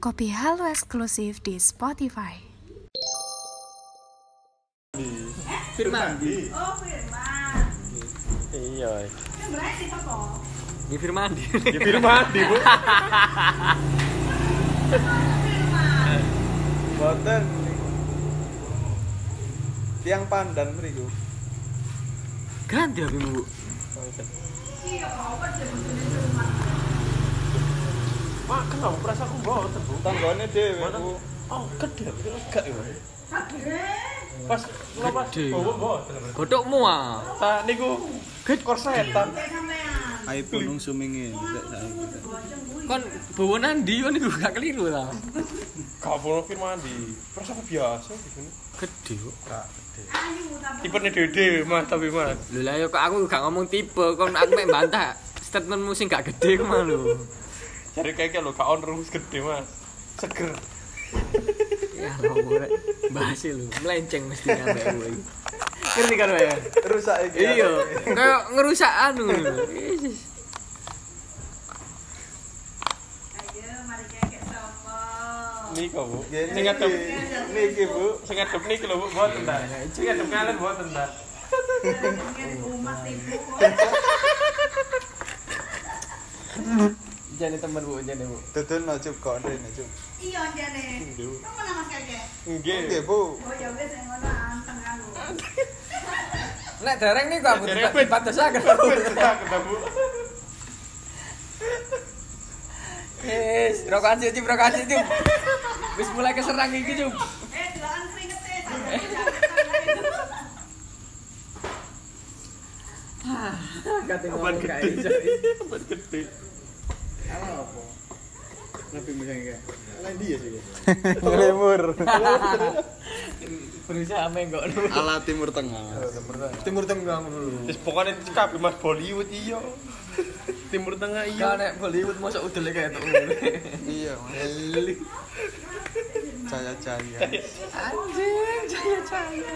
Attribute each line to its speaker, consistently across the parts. Speaker 1: Kopi Halo eksklusif di Spotify.
Speaker 2: Firman.
Speaker 3: Oh, Firman.
Speaker 4: Iya.
Speaker 3: Ini berarti apa?
Speaker 2: Di Firman.
Speaker 4: Di Firmandi, Bu.
Speaker 3: Firman.
Speaker 5: Boten. Tiang pandan mriku.
Speaker 2: Ganti HP Bu.
Speaker 3: Iya, kok apa sih maksudnya Firman?
Speaker 4: Mak, kenapa perasa aku boten, Bu?
Speaker 5: Tanggone dhewe
Speaker 4: Boten.
Speaker 5: ku.
Speaker 4: Oh, gede tapi lega ya. Bu.
Speaker 3: Gede.
Speaker 4: Pas lepas
Speaker 2: Gede.
Speaker 4: bawa boten. Oh, Bu.
Speaker 2: Godokmu ah.
Speaker 4: Nah, niku gede korsetan.
Speaker 3: Kayak sampean.
Speaker 5: Ae punung sumingin. Lek saiki.
Speaker 3: Boceng gue.
Speaker 2: Kon bawa nandi kon iku gak keliru lah.
Speaker 4: Gak perlu Firmandi. Perasa aku biasa di sini.
Speaker 2: Gede kok.
Speaker 4: Gak gede.
Speaker 3: Ayu, tapi
Speaker 4: Tipe nih dede, Mas, tapi Mas.
Speaker 2: Lho lah ya kok aku gak ngomong tipe, kon aku mek bantah statementmu sing gak gede ku mah lho.
Speaker 4: Jadi kayak lo gak on rumus gede, Mas. Seger.
Speaker 2: Ya ngomong rek. Bahas lho, melenceng mesti nyampe gue. iki. Ngerti kan ya?
Speaker 5: Rusak iki.
Speaker 2: Iya, kayak ngerusak anu. Yesus.
Speaker 3: ayo, mari kayak sama.
Speaker 4: Nih kok, Bu.
Speaker 5: Gini.
Speaker 4: Sing ngadep,
Speaker 5: Niki, Bu.
Speaker 4: sing ngadep nih lho, Bu, boten ta. Nah, Sing ngadep kalian boten ta.
Speaker 3: Pengen rumah tipu.
Speaker 4: Jane temen Bu, jane Bu.
Speaker 5: Dudun no cup kon rene cup.
Speaker 3: Iya, jane. Kamu nama kakek?
Speaker 4: Nggih.
Speaker 5: Nggih, Bu.
Speaker 3: Oh, ya wes yang ngono anteng aku.
Speaker 2: Nek dereng nih kok aku
Speaker 4: Dereng,
Speaker 2: tak
Speaker 4: weh.
Speaker 2: patasaken.
Speaker 4: Kita ketemu.
Speaker 2: Yes, rokokan sih, Cip, rokokan sih, Cip. Wis mulai keserang iki, Cip.
Speaker 3: Eh, delakan keringet eh.
Speaker 2: Kate
Speaker 4: Ban
Speaker 2: ngomong kae,
Speaker 4: gede. Ban gede.
Speaker 5: Lemur.
Speaker 2: Berusaha menggok lu.
Speaker 5: Ala Timur Tengah. Timur Tengah dulu.
Speaker 4: Wis pokoknya cekap Mas Bollywood iya. Timur Tengah
Speaker 2: Kau
Speaker 4: iya.
Speaker 2: nek Bollywood mosok udele kayak tuh.
Speaker 5: Iya, Mas. Jaya-jaya.
Speaker 2: Anjing, jaya-jaya.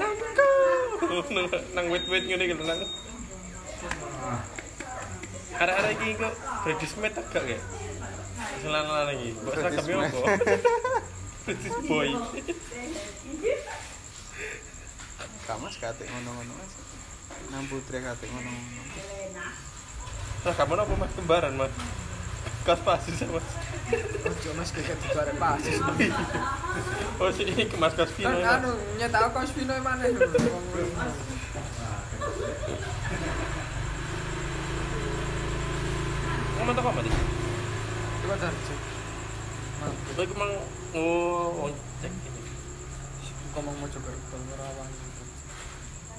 Speaker 4: Nang- Nang wit-wit ngene iki lho, nang. Arek-arek iki kok British Mate agak ya. Selan-selan iki. ya, Mbok sakame opo? British boy.
Speaker 5: Kak Mas katik ngono-ngono Mas. Nang putri katik ngono-ngono.
Speaker 4: Terus kamu apa Mas kembaran, Mas? Kas pasis sama Mas.
Speaker 2: Ojo mas kayak digorek pasis.
Speaker 4: Oh, sini ini ke Mas Kasvino.
Speaker 2: Kan
Speaker 4: ya, Mas.
Speaker 2: anu nyetak kau spino mana lho.
Speaker 4: Ngomong toko apa tadi?
Speaker 2: Coba tarik, Cip.
Speaker 4: Oh, iku mang oh, oh, cek ini.
Speaker 2: Kau mau mau coba pengerawang gitu.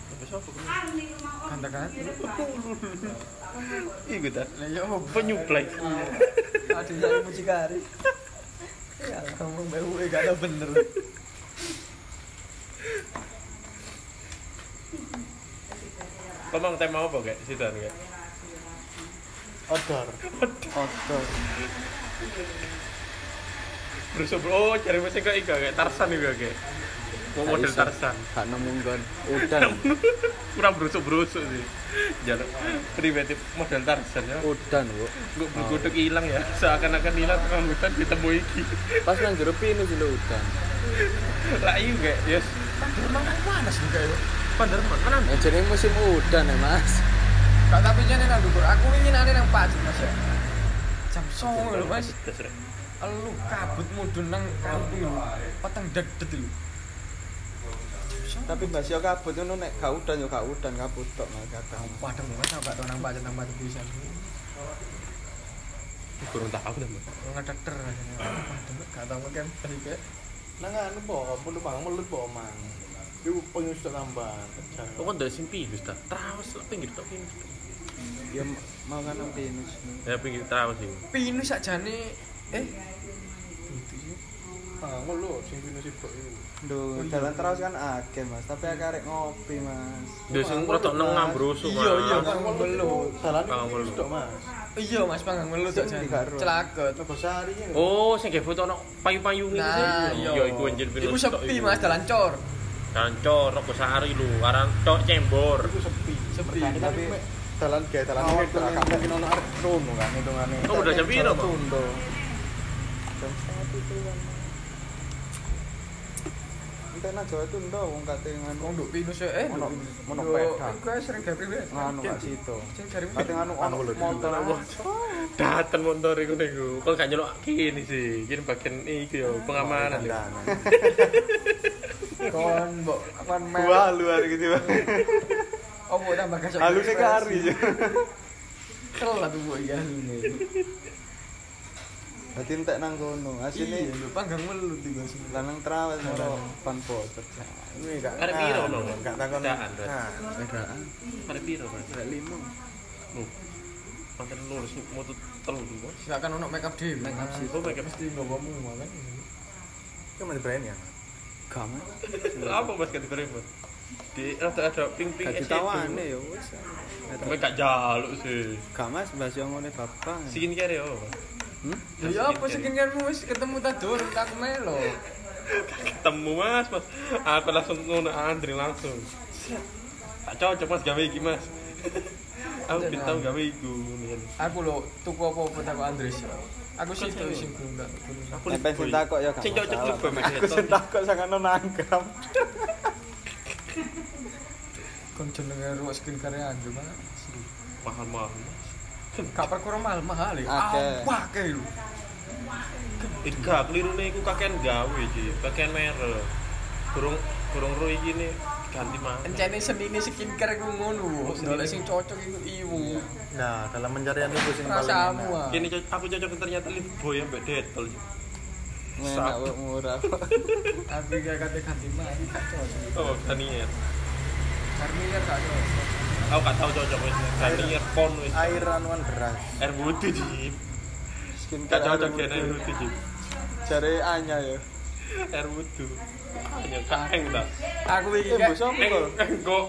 Speaker 4: Apa sih, apa?
Speaker 3: Arni rumah kok.
Speaker 2: Ganti-ganti.
Speaker 4: Iya, gitu.
Speaker 2: Lah ya apa?
Speaker 4: Penyuplai.
Speaker 2: Aduh, saya mucikari. Ya, kamu bau gak ada bener.
Speaker 4: Kau mang tema apa kayak situ kayak?
Speaker 5: Odor. Odor.
Speaker 4: Bruce Bro- oh cari mesin kayak iga kayak Tarsan juga kayak. Mau model Tarsan.
Speaker 5: Gak nemu kan udan.
Speaker 4: Kurang berusuk-berusuk sih. Jalan primitif model Tarsan ya.
Speaker 5: Udan, Bu.
Speaker 4: Gue bergodok
Speaker 2: Oh.
Speaker 4: hilang ya. Seakan-akan hilang tengah hutan ditemui iki.
Speaker 5: Pas nang jero pinus lho udan.
Speaker 4: Lah iya kayak yes.
Speaker 2: Kan
Speaker 4: Panderman panas juga ya. Panderman
Speaker 5: Ya jenenge musim udan ya, Mas.
Speaker 2: Kak tapi jangan nang dukur. Aku ingin ada nang pacet mas ya. Jam songo lho mas.
Speaker 4: mana?
Speaker 2: Lu kabut mudun nang kampung lho. Peteng dedet lho.
Speaker 5: Tapi Mas yo kabut ngono nek gak udan yo gak udan kabut tok malah kadang.
Speaker 2: Padahal mas aku gak tau nang pacet nang pacet bisa.
Speaker 4: Kurang tahu dah.
Speaker 2: Ngedekter aja. Padahal gak tau kan tadi kayak.
Speaker 5: Nang anu po, mulu mang melut po mang. Iku penyus tok tambah.
Speaker 4: Kok ada sing pinus dah. Trawas lah pinggir tok pinus. tok.
Speaker 5: Ya mau kan nang pinus.
Speaker 4: Ya pinggir trawas sih.
Speaker 2: Pinus aja nih. Eh.
Speaker 5: Duh, jalan terus kan akeh, Mas. Tapi aku arek ngopi, Mas.
Speaker 4: Dia sing rotok nengah brusuk.
Speaker 2: Iya iya
Speaker 4: Mas.
Speaker 2: pang melut.
Speaker 4: Panggang melut.
Speaker 2: Iya mas pang melut
Speaker 5: Sing
Speaker 2: aja.
Speaker 5: di karo.
Speaker 2: Celakut.
Speaker 4: Oh, sing kayak foto ono payu-payu ngene.
Speaker 2: Nah,
Speaker 4: sih.
Speaker 2: iya.
Speaker 4: Ya iku anjir pinus.
Speaker 2: Iku
Speaker 4: tok
Speaker 2: sepi
Speaker 4: iku.
Speaker 2: mas dalan cor.
Speaker 4: Kancor, rokok sehari lu, karang tok cembor.
Speaker 2: Sepi.
Speaker 5: Nah, Tapi jalan gawe jalan oh, mungkin ono arek rono kan hitungane.
Speaker 4: Oh, udah jam piro, Pak?
Speaker 5: Tundo. jam setengah tujuh kan Entah nak Jawa itu entah wong kate nganu
Speaker 2: Wong nduk pinus ya, eh
Speaker 5: Ono-
Speaker 2: nduk pinus.
Speaker 5: ono
Speaker 2: Yo,
Speaker 5: pedang.
Speaker 2: iku ae sering gawe priwe.
Speaker 5: nganu gak situ.
Speaker 2: Sing jari
Speaker 5: Kate nganu ono motor
Speaker 4: Daten motor iku niku. Kok gak nyelok kene sih. Kene bagian iki yo
Speaker 2: Ah,
Speaker 4: pengamanan. lho.
Speaker 5: Dandanan.
Speaker 2: kon mbok kon mel.
Speaker 5: Wah luar gitu.
Speaker 2: Opo tambah kasok.
Speaker 5: Halus kari.
Speaker 2: Kelat mbok iki halune.
Speaker 5: Berarti entek nang kono.
Speaker 2: Sini
Speaker 5: Asine
Speaker 2: nduk panggang melu tiga sini.
Speaker 5: lanang trawas ora pan bocor. Ini gak.
Speaker 4: Arek piro no?
Speaker 5: Gak takon.
Speaker 4: Sepedaan, Ren.
Speaker 5: Nah, sepedaan.
Speaker 4: Arek piro, Mas?
Speaker 6: Gak lima.
Speaker 4: Makan lurus moto telu dulu.
Speaker 2: Gak kan ono make up dhewe.
Speaker 4: Make up sih. Oh, make up.
Speaker 2: mesti ngomongmu kan.
Speaker 5: Kamu ada brand ya? Gak mas.
Speaker 4: Hmm. Apa Mas ganti beri, Mas? Di rada ada ping-ping
Speaker 5: Gak
Speaker 4: es
Speaker 5: ditawan ya
Speaker 4: itu.
Speaker 5: wis.
Speaker 4: Tapi gak jaluk sih.
Speaker 5: Gak mas, bahas yang ngomongnya bapak.
Speaker 4: Skincare ya, yo.
Speaker 5: Hmm?
Speaker 2: Lho ya apa skincare-mu wis ketemu ta dur tak melo.
Speaker 4: Ketemu Mas, Mas. Aku langsung ngono antri langsung. Set. Tak cocok Mas gawe iki, Mas. Aku
Speaker 5: nah.
Speaker 2: Tenan.
Speaker 4: bintang gawe iku kan. ngene.
Speaker 2: Aku lho tuku apa-apa tak Andres. Aku sih tuh sing belum tak.
Speaker 4: Aku
Speaker 5: Sampai
Speaker 4: lihat, Boy.
Speaker 5: cinta kok ya gak
Speaker 4: Sing cocok
Speaker 5: masalah.
Speaker 4: lebih Mas.
Speaker 5: Aku cinta kok sangat nonanggap.
Speaker 2: Kon jenenge ruwet skincare anjir Mas.
Speaker 4: Mahal-mahal.
Speaker 2: Gak perkara mahal-mahal ya.
Speaker 5: Akeh.
Speaker 2: Apa kae lho.
Speaker 4: Ika keliru nih, aku kakean gawe sih, kakean merek. Burung burung ru iki nih ganti mana?
Speaker 2: Encene senine skincare ku ngono. Dolek sing cocok iku iwu.
Speaker 5: Nah, dalam pencarian itu sing
Speaker 2: Rasamu
Speaker 5: Nah.
Speaker 2: ah.
Speaker 4: Kini co- aku cocok ternyata lift boy ambek detel.
Speaker 5: Enak wek, murah.
Speaker 2: Tapi gak kate ganti mah gak cocok.
Speaker 4: Oh, Daniel.
Speaker 2: Karmila gak cocok.
Speaker 4: Aku gak tau cocok wis. Daniel kon wis.
Speaker 5: Air ranuan beras.
Speaker 4: Air putih sih.
Speaker 5: Skincare
Speaker 4: Gak cocok
Speaker 5: air
Speaker 4: ya air
Speaker 5: wudhu.
Speaker 4: putih sih.
Speaker 5: Jare Anya ya.
Speaker 4: Air putih. Hanya kakeng tak.
Speaker 2: Aku iki
Speaker 5: Eh,
Speaker 2: gak
Speaker 5: bos apa
Speaker 4: Eng,
Speaker 5: kok?
Speaker 4: eng kok.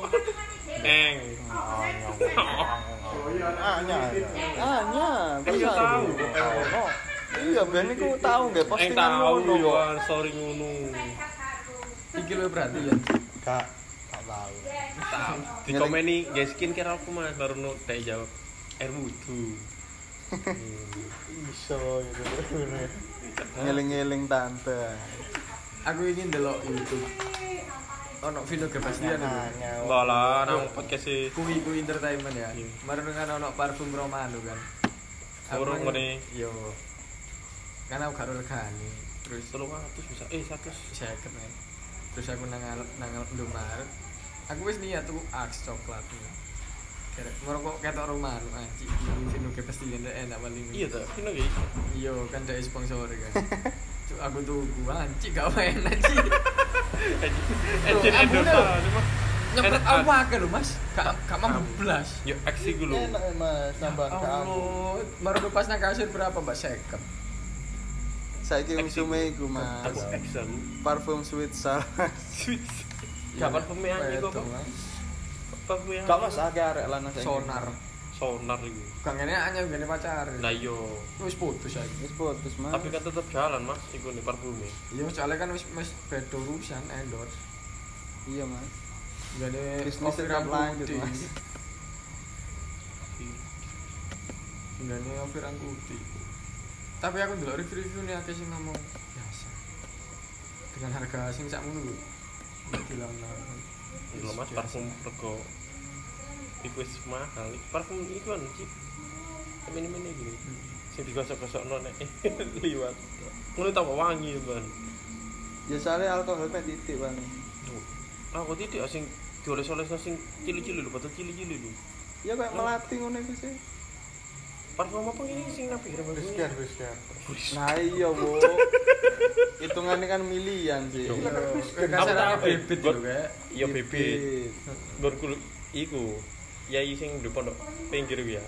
Speaker 4: Eng.
Speaker 5: Anya. Anya,
Speaker 4: Eng yo tau.
Speaker 5: Ono. Iya, ben iku tau nggih
Speaker 4: Eng
Speaker 5: postingan
Speaker 4: tau
Speaker 5: ngono
Speaker 4: yo,
Speaker 5: yo.
Speaker 4: sorry ngono.
Speaker 2: iki luwih berarti ya.
Speaker 5: Gak gak tau.
Speaker 4: Di komeni, ya skincare aku mas baru nu tak jawab. Air wudhu.
Speaker 5: Iso gitu. Ngeling-ngeling tante.
Speaker 2: Aku ingin delok YouTube. Ono video
Speaker 5: Iya,
Speaker 2: kepastian itu.
Speaker 5: Nah,
Speaker 4: Enggak lah, nang podcast e, sih.
Speaker 2: Kui kui entertainment ya.
Speaker 4: Iya.
Speaker 2: Kemarin kan ono parfum Romano kan.
Speaker 4: Burung
Speaker 2: Aku-
Speaker 4: ngene.
Speaker 2: Yo. Kan aku karo regane. Terus
Speaker 4: Tolong atus bisa, eh satu.
Speaker 2: saya men. Terus aku nang nang- nang Indomaret. Aku wis niat tuku aks coklat. Kira merokok ketok Romano anjing. Ini video kepastian dah enak paling.
Speaker 4: Iya tuh, ini gak iso.
Speaker 2: Iya, kan dari sponsor kan. Cuk, aku tuku anjing gak enak anjing.
Speaker 5: Eh,
Speaker 4: Engine
Speaker 2: aku
Speaker 4: endorse
Speaker 2: udah-
Speaker 4: cuma.
Speaker 2: Nyempet
Speaker 4: Enak,
Speaker 2: awak kan lho, Mas. Gak gak mampu blas.
Speaker 4: Yuk aksi dulu.
Speaker 5: Enak ya, Mas, tambah ke aku.
Speaker 2: Allah, baru lepas nang kasir berapa mbak sekep?
Speaker 5: Saiki musume iku,
Speaker 4: Aku
Speaker 5: Mas.
Speaker 4: action.
Speaker 5: Parfum sweet salas.
Speaker 4: Sweet. Kapan pemian iku?
Speaker 2: Betul, Mas.
Speaker 4: Pemian.
Speaker 5: Gak Mas, akeh arek lanang saiki.
Speaker 2: Sonar.
Speaker 4: Sonar iku.
Speaker 2: Kang ini hanya gini pacar.
Speaker 4: Nah yo.
Speaker 2: Wis putus aja.
Speaker 5: Wis putus, Mas.
Speaker 4: Tapi kan tetep jalan mas, iku nih parfumnya.
Speaker 2: Iya, soalnya kan wis wis beda urusan endorse.
Speaker 5: Iya, Mas.
Speaker 2: Gane
Speaker 5: Bisnis tetap lanjut, gitu, Mas.
Speaker 2: Gane Ovi Rangkuti. Tapi aku ndelok review-review nih akeh sing ngomong biasa. Dengan harga sing sakmono lho. Gila nah.
Speaker 4: Dulu Iya, mas parfum rego. Iku wis mahal. Iku Parfum iku kan cip. Temen-temen iki.
Speaker 5: Hmm.
Speaker 4: Sing digosok-gosok nek liwat. Ngono tambah wangi man.
Speaker 5: Ya soalnya alkoholnya titik, Bang.
Speaker 4: Aku tidak sing dioles-oles sing cili-cili lho, botol cili-cili lho.
Speaker 5: Ya kayak melati ngono iku sih.
Speaker 4: Parfum apa ini sing napi kira
Speaker 5: Biskar,
Speaker 2: ya.
Speaker 5: biskar. Nah iya, Bu. Hitungannya kan milian sih.
Speaker 2: Kasarane bibit lho kayak.
Speaker 4: Iya bebek. Gorku iku. Yai sing di pondok pinggir ku ya.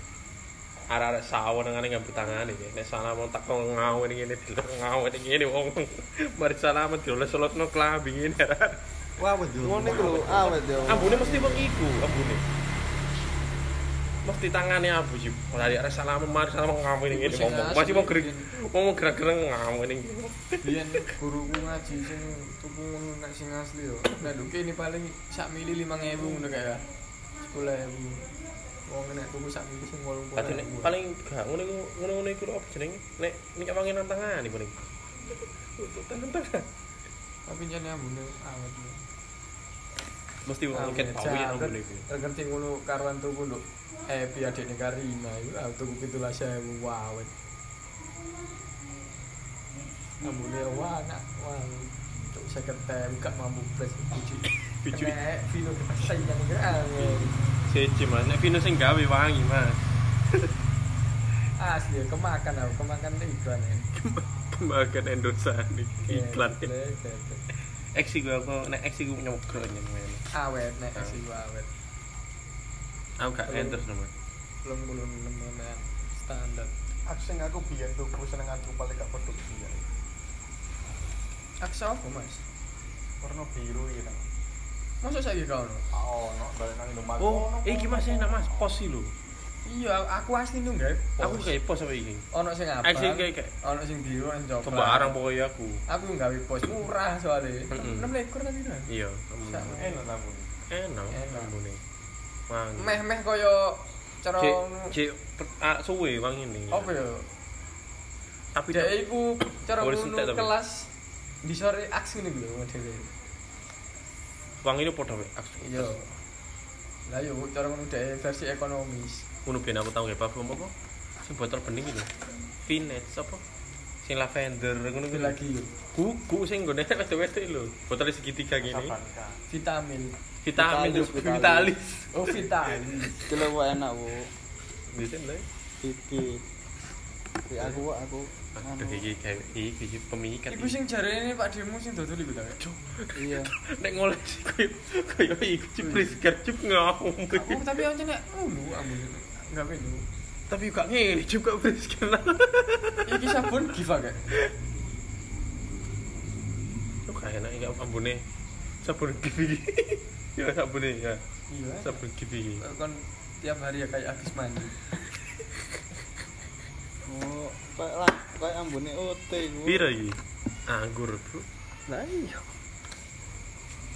Speaker 4: Arek-arek sawon nangane ngambut tangane ya. Nek salah mau tak ngawen ngene dilek ngawen ngene wong. Mari salamat dioles-olesno klambi ngene. arek-arek.
Speaker 5: Wah, betul. Ngono iku lho, awet ya. Bu.
Speaker 4: Ambune mesti wong iku, ambune. Mesti tangane abu sih. Ora arek salaman mari salaman ngawen ngene
Speaker 2: Sing
Speaker 4: wong.
Speaker 2: asli.
Speaker 4: Masih mau gerak mau gerak-gereng ngawen ngene.
Speaker 2: Biyen guruku ngaji sing tuku ngono nek sing asli yo. Nek duke ini paling sak mili 5000 ngono kayak. 10000. Wong nek tuku sak mili sing 80.
Speaker 4: Dadi nek paling gak ngono iku ngono-ngono iku lho apa jenenge? Nek nek wangi nang tangane paling. Untuk tangan-tangan.
Speaker 2: Tapi jan ambune awet. lho.
Speaker 4: Mesti wong ket pau ya
Speaker 2: Jagat,
Speaker 4: ngene iku.
Speaker 2: Ngerti kan ngono karuan tuku Eh, lho. Happy adikne Karina Nah, iku aku tuku 17.000 awet. Ambune wah anak wah untuk 50.000 gak mampu plus cuci.
Speaker 4: Cuci.
Speaker 2: Kena eh, ah, Vino kesayangan angin.
Speaker 4: Siji Mas, nek Vino sing gawe wangi Mas.
Speaker 2: Asli kemakan aku kemakan iklan ya.
Speaker 4: Kembangan endosan iki iklan.
Speaker 2: Geblek, geblek.
Speaker 4: Eksi gue aku nek eksi gue nyogro nyen.
Speaker 2: Awet iya. Ah, nek sih awet.
Speaker 4: Aku gak
Speaker 2: Belum.
Speaker 4: enter nomor.
Speaker 2: belum belum belum yang standar
Speaker 7: aku sing aku biyen tuku seneng aku paling gak produksi ya
Speaker 2: aksa apa mas
Speaker 7: warna biru ya kan
Speaker 2: masa saya kau no
Speaker 7: oh no balik nang Indomaret
Speaker 4: Oh, iki Mas enak Mas, pos sih lho.
Speaker 2: iya aku asli nu nggak
Speaker 4: Aku kayak pos apa iki?
Speaker 2: ono sing apa
Speaker 4: Aku kayak kayak
Speaker 2: ono sing biru ono sing coklat
Speaker 4: sembarang pokoknya aku.
Speaker 2: aku nggak pos murah soalnya
Speaker 4: Mm-mm.
Speaker 2: enam ekor tadi kan
Speaker 4: Iya.
Speaker 2: Sak-
Speaker 7: enak namun
Speaker 4: Enak.
Speaker 2: Enak.
Speaker 4: Ambune. Wangi.
Speaker 2: meh meh koyo cara
Speaker 4: Cek
Speaker 2: nu-
Speaker 4: cek pe- ah, suwe wangi ini.
Speaker 2: apa ya
Speaker 4: Tapi
Speaker 2: dia iku cara
Speaker 4: Boris
Speaker 2: ngono
Speaker 4: entek tapi.
Speaker 2: kelas di sore aksi nih gue modelnya
Speaker 4: wangi ini podo wek. Aku-
Speaker 2: iya lah yuk cara ngono dia versi ekonomis
Speaker 4: Ngono ben aku tau gak parfum apa? Sing botol bening gitu. Vinets apa? Sing lavender ngono
Speaker 2: itu
Speaker 4: kuwi
Speaker 2: lagi yuk
Speaker 4: Gugu sing gone wedok-wedok lho. Botol segitiga gini.
Speaker 7: sabanka
Speaker 2: vitamin
Speaker 4: Vitamin
Speaker 5: Vitalis,
Speaker 4: vitalis.
Speaker 2: oh vitamin
Speaker 5: Iki lho wah, enak, Bu.
Speaker 4: Dicen lho.
Speaker 5: Iki. Iki aku Wak, aku
Speaker 4: Aduh, iki Ah, kayak iki iki pemikat.
Speaker 2: Iku
Speaker 4: iki.
Speaker 2: sing jarene Pak Demo sing dodol iku ta. Cuk.
Speaker 5: iya.
Speaker 4: nek ngoleksi koyo koyo iku cipris gercep ngomong.
Speaker 2: Aku Oh, tapi ancen nek ngono ambune. Enggak ngono.
Speaker 4: Tapi gak ngene juga brisken.
Speaker 2: Iki sabun giva gak?
Speaker 4: Kok gak enak enggak ambune. Sabun gigi. Ya sabune ya.
Speaker 2: Iya.
Speaker 4: Sabun gigi.
Speaker 2: Kon tiap hari ya kayak habis mandi.
Speaker 5: Oh, kayak lah, kayak ambune OT iku.
Speaker 4: Piro iki? Anggur, Bro.
Speaker 5: Lah iya.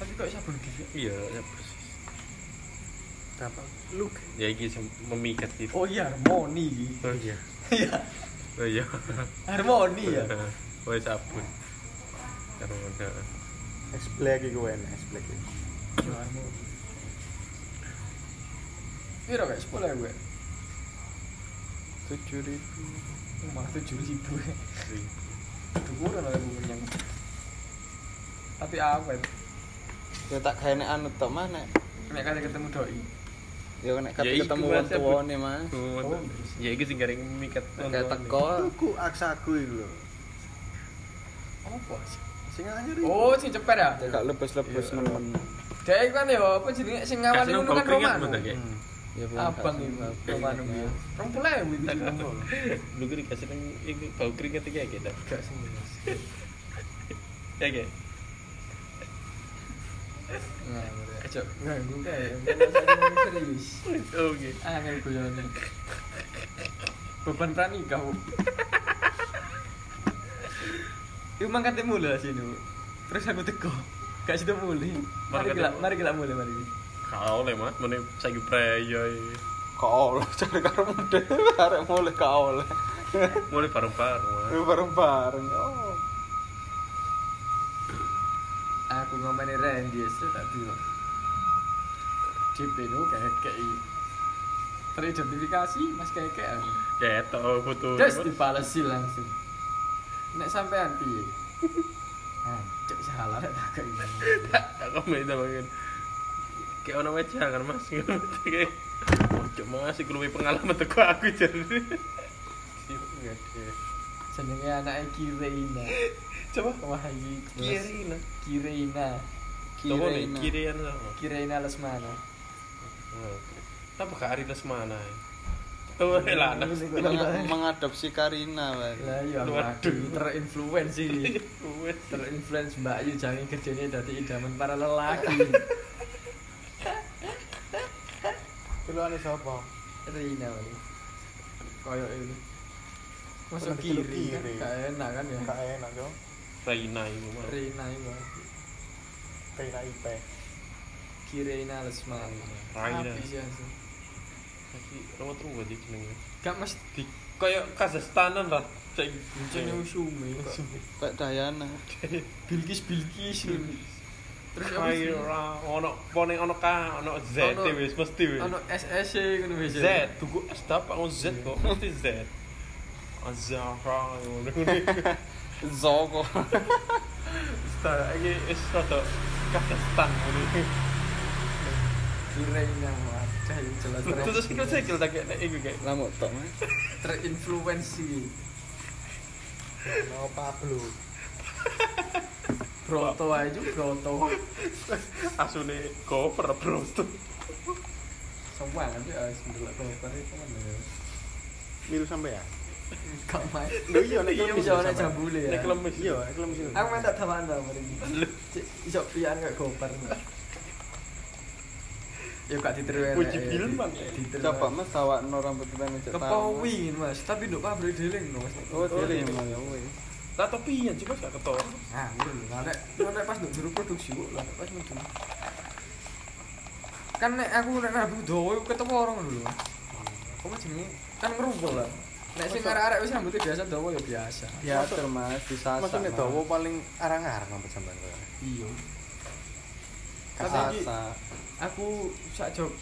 Speaker 2: Tapi kok sabun giva?
Speaker 4: Iya, ya persis. Apa? Look. Ya iki sing memikat gitu. itu.
Speaker 2: Oh iya harmoni iki.
Speaker 4: Oh iya.
Speaker 2: Iya.
Speaker 4: Oh iya.
Speaker 2: Harmoni ya.
Speaker 4: Oh sabun. Karo ada.
Speaker 7: es black iku enak es black iku
Speaker 2: Iya, harmoni. Piro gak sekolah gue?
Speaker 5: 7000.
Speaker 2: Malah tujuh ribu. Aduh, kurang lah gue yang. Tapi awet.
Speaker 5: Ya tak gawe nek anu tok mah nek
Speaker 2: Nek kate ketemu doi.
Speaker 5: ya nek
Speaker 4: Ya,
Speaker 5: kate
Speaker 4: iku,
Speaker 5: ketemu
Speaker 4: Mas,
Speaker 5: wong
Speaker 4: ya, Bu.
Speaker 5: tuwane Mas.
Speaker 4: Oh, ya iki sing garing mikat.
Speaker 5: Kayak
Speaker 4: oh,
Speaker 5: teko.
Speaker 7: tuku aksaku iku lho
Speaker 2: Apa sih?
Speaker 7: sing anyar iku
Speaker 2: Oh, sing cepet ya?
Speaker 5: Ya gak lebes-lebes nemen.
Speaker 2: Dek iku kan ya apa jenenge sing ngawali
Speaker 4: Kasih nang
Speaker 2: ngono
Speaker 4: bau
Speaker 2: kan
Speaker 4: keringat
Speaker 2: Romano.
Speaker 4: bentar oh. kayak.
Speaker 5: Ya Bu,
Speaker 2: Abang
Speaker 5: gak
Speaker 2: iku
Speaker 5: sembab.
Speaker 2: Romano ya. Rompule iku iki Rompul.
Speaker 4: Lu kiri kasih nang iku bau keringat iki ya kita.
Speaker 2: Gak sing jelas.
Speaker 4: Ya kayak.
Speaker 2: Nah, cok. Nah, gue kayak ngomong serius.
Speaker 4: Oke.
Speaker 2: Angel guyone. Beban pranikah. Bu. Iku mangkat mulu sini. Bu. lah Terus aku teko. Gak sido mulai. Mari
Speaker 4: Mangkat
Speaker 2: kita
Speaker 4: temu.
Speaker 2: mari kita mulai mari.
Speaker 4: Kau le mas, mana saya praya.
Speaker 5: Gak oleh cari karo model arek mulai gak oleh.
Speaker 4: Mulai bareng bareng.
Speaker 5: Ya, Bareng-bareng. Oh.
Speaker 2: Aku ngomongin Randy ya, saya tak bilang. DP nu kayak kayak teridentifikasi mas kayak kayak.
Speaker 4: Kayak tau foto.
Speaker 2: Terus dibalesi langsung. Nek sampean piye? Ah, cek salah nek tak kei.
Speaker 4: Aku main sama kan. Kayak orang wajah kan mas. Kayak. Cuma masih keluar pengalaman teko aku jadi.
Speaker 2: Jenenge anake Kirina.
Speaker 4: Coba.
Speaker 2: Wah, iki jelas.
Speaker 4: Kiri nah.
Speaker 2: Kirina.
Speaker 4: Coba nih
Speaker 5: Kirena.
Speaker 4: kirian sama.
Speaker 2: Kirina Lesmana.
Speaker 4: Apa kak Ari Lesmana? Oh, lah, nah.
Speaker 5: Meng- mengadopsi Karina, Pak.
Speaker 2: Lah iya aku
Speaker 4: Waduh.
Speaker 2: terinfluence ini.
Speaker 4: Wes.
Speaker 2: Terinfluence Mbak Yu jangan kerjanya dadi idaman para lelaki.
Speaker 7: celukane sapa
Speaker 2: Rina. weh. Koyo ini. Masuk
Speaker 7: Pernah diceluk
Speaker 2: kiri, kan
Speaker 7: kiri.
Speaker 2: gak enak kan ya.
Speaker 7: gak enak yo
Speaker 4: Raina itu mas.
Speaker 2: Rina iku.
Speaker 7: kayak ipe
Speaker 2: Kirina Lesmana.
Speaker 4: Raina.
Speaker 2: Habis ya, sih.
Speaker 4: Jadi ruwet ruwet iki jenenge.
Speaker 2: Gak mesti
Speaker 4: Di koyo Kazakhstanan lah. Cek
Speaker 2: jeneng usume kok.
Speaker 5: Kayak Dayana.
Speaker 2: Bilkis Bilkis. Terus apa sih?
Speaker 4: Kaira ono pone ono K ono Z
Speaker 2: Ono-
Speaker 4: wis mesti wis.
Speaker 2: Ono SSC ngono wis.
Speaker 4: Z tuku S dapat ono Z kok mesti Z. Azara ngono.
Speaker 5: Zoko.
Speaker 4: Stara iki wis rada Kazakhstan ngono.
Speaker 2: Kirain yang wajah yang jelas ter-
Speaker 4: Terus sikil sikil tak nek iku kayak
Speaker 5: Lamuk tok, Mas.
Speaker 2: terinfluensi.
Speaker 7: No Pablo.
Speaker 2: Broto aja Broto.
Speaker 4: asune cover bro.
Speaker 2: Semua nanti harus mendelok Broto itu kan ya.
Speaker 7: Miru sampai ya?
Speaker 2: Gak main.
Speaker 7: Lho iya nek
Speaker 2: Iya
Speaker 7: lemes
Speaker 2: bisa
Speaker 7: ya
Speaker 2: ana
Speaker 7: sampai.
Speaker 2: jambule ya.
Speaker 4: Nek lemes
Speaker 7: Iya, nek lemes ya.
Speaker 2: Aku main tak tawaan tau mari. Cek iso pian gak goper. Ya gak ditiru elek.
Speaker 4: Uji filman, ya.
Speaker 2: Ditiru.
Speaker 5: Coba Mas awakno rambut tenan cek
Speaker 2: Kepowi Mas, tapi nduk pabrik dealing no Mas.
Speaker 5: Oh, dhewe Mas ya weh.
Speaker 4: Lah topi yang juga gak ketok.
Speaker 2: Nah, ngono lho. Nek nek pas nduk juru produksi kok lah nek pas mudun. Kan nek aku nek rabu dowo ketemu orang dulu. Apa jenenge? Kan ngerumpul lah. Nek sing arek-arek wis rambutnya biasa dowo ya biasa.
Speaker 5: Ya ter Mas disasar.
Speaker 7: Maksudnya dawa paling arang-arang sampai sampean koyo.
Speaker 2: Iya. Tapi
Speaker 5: Kasasa.
Speaker 2: iki aku sak job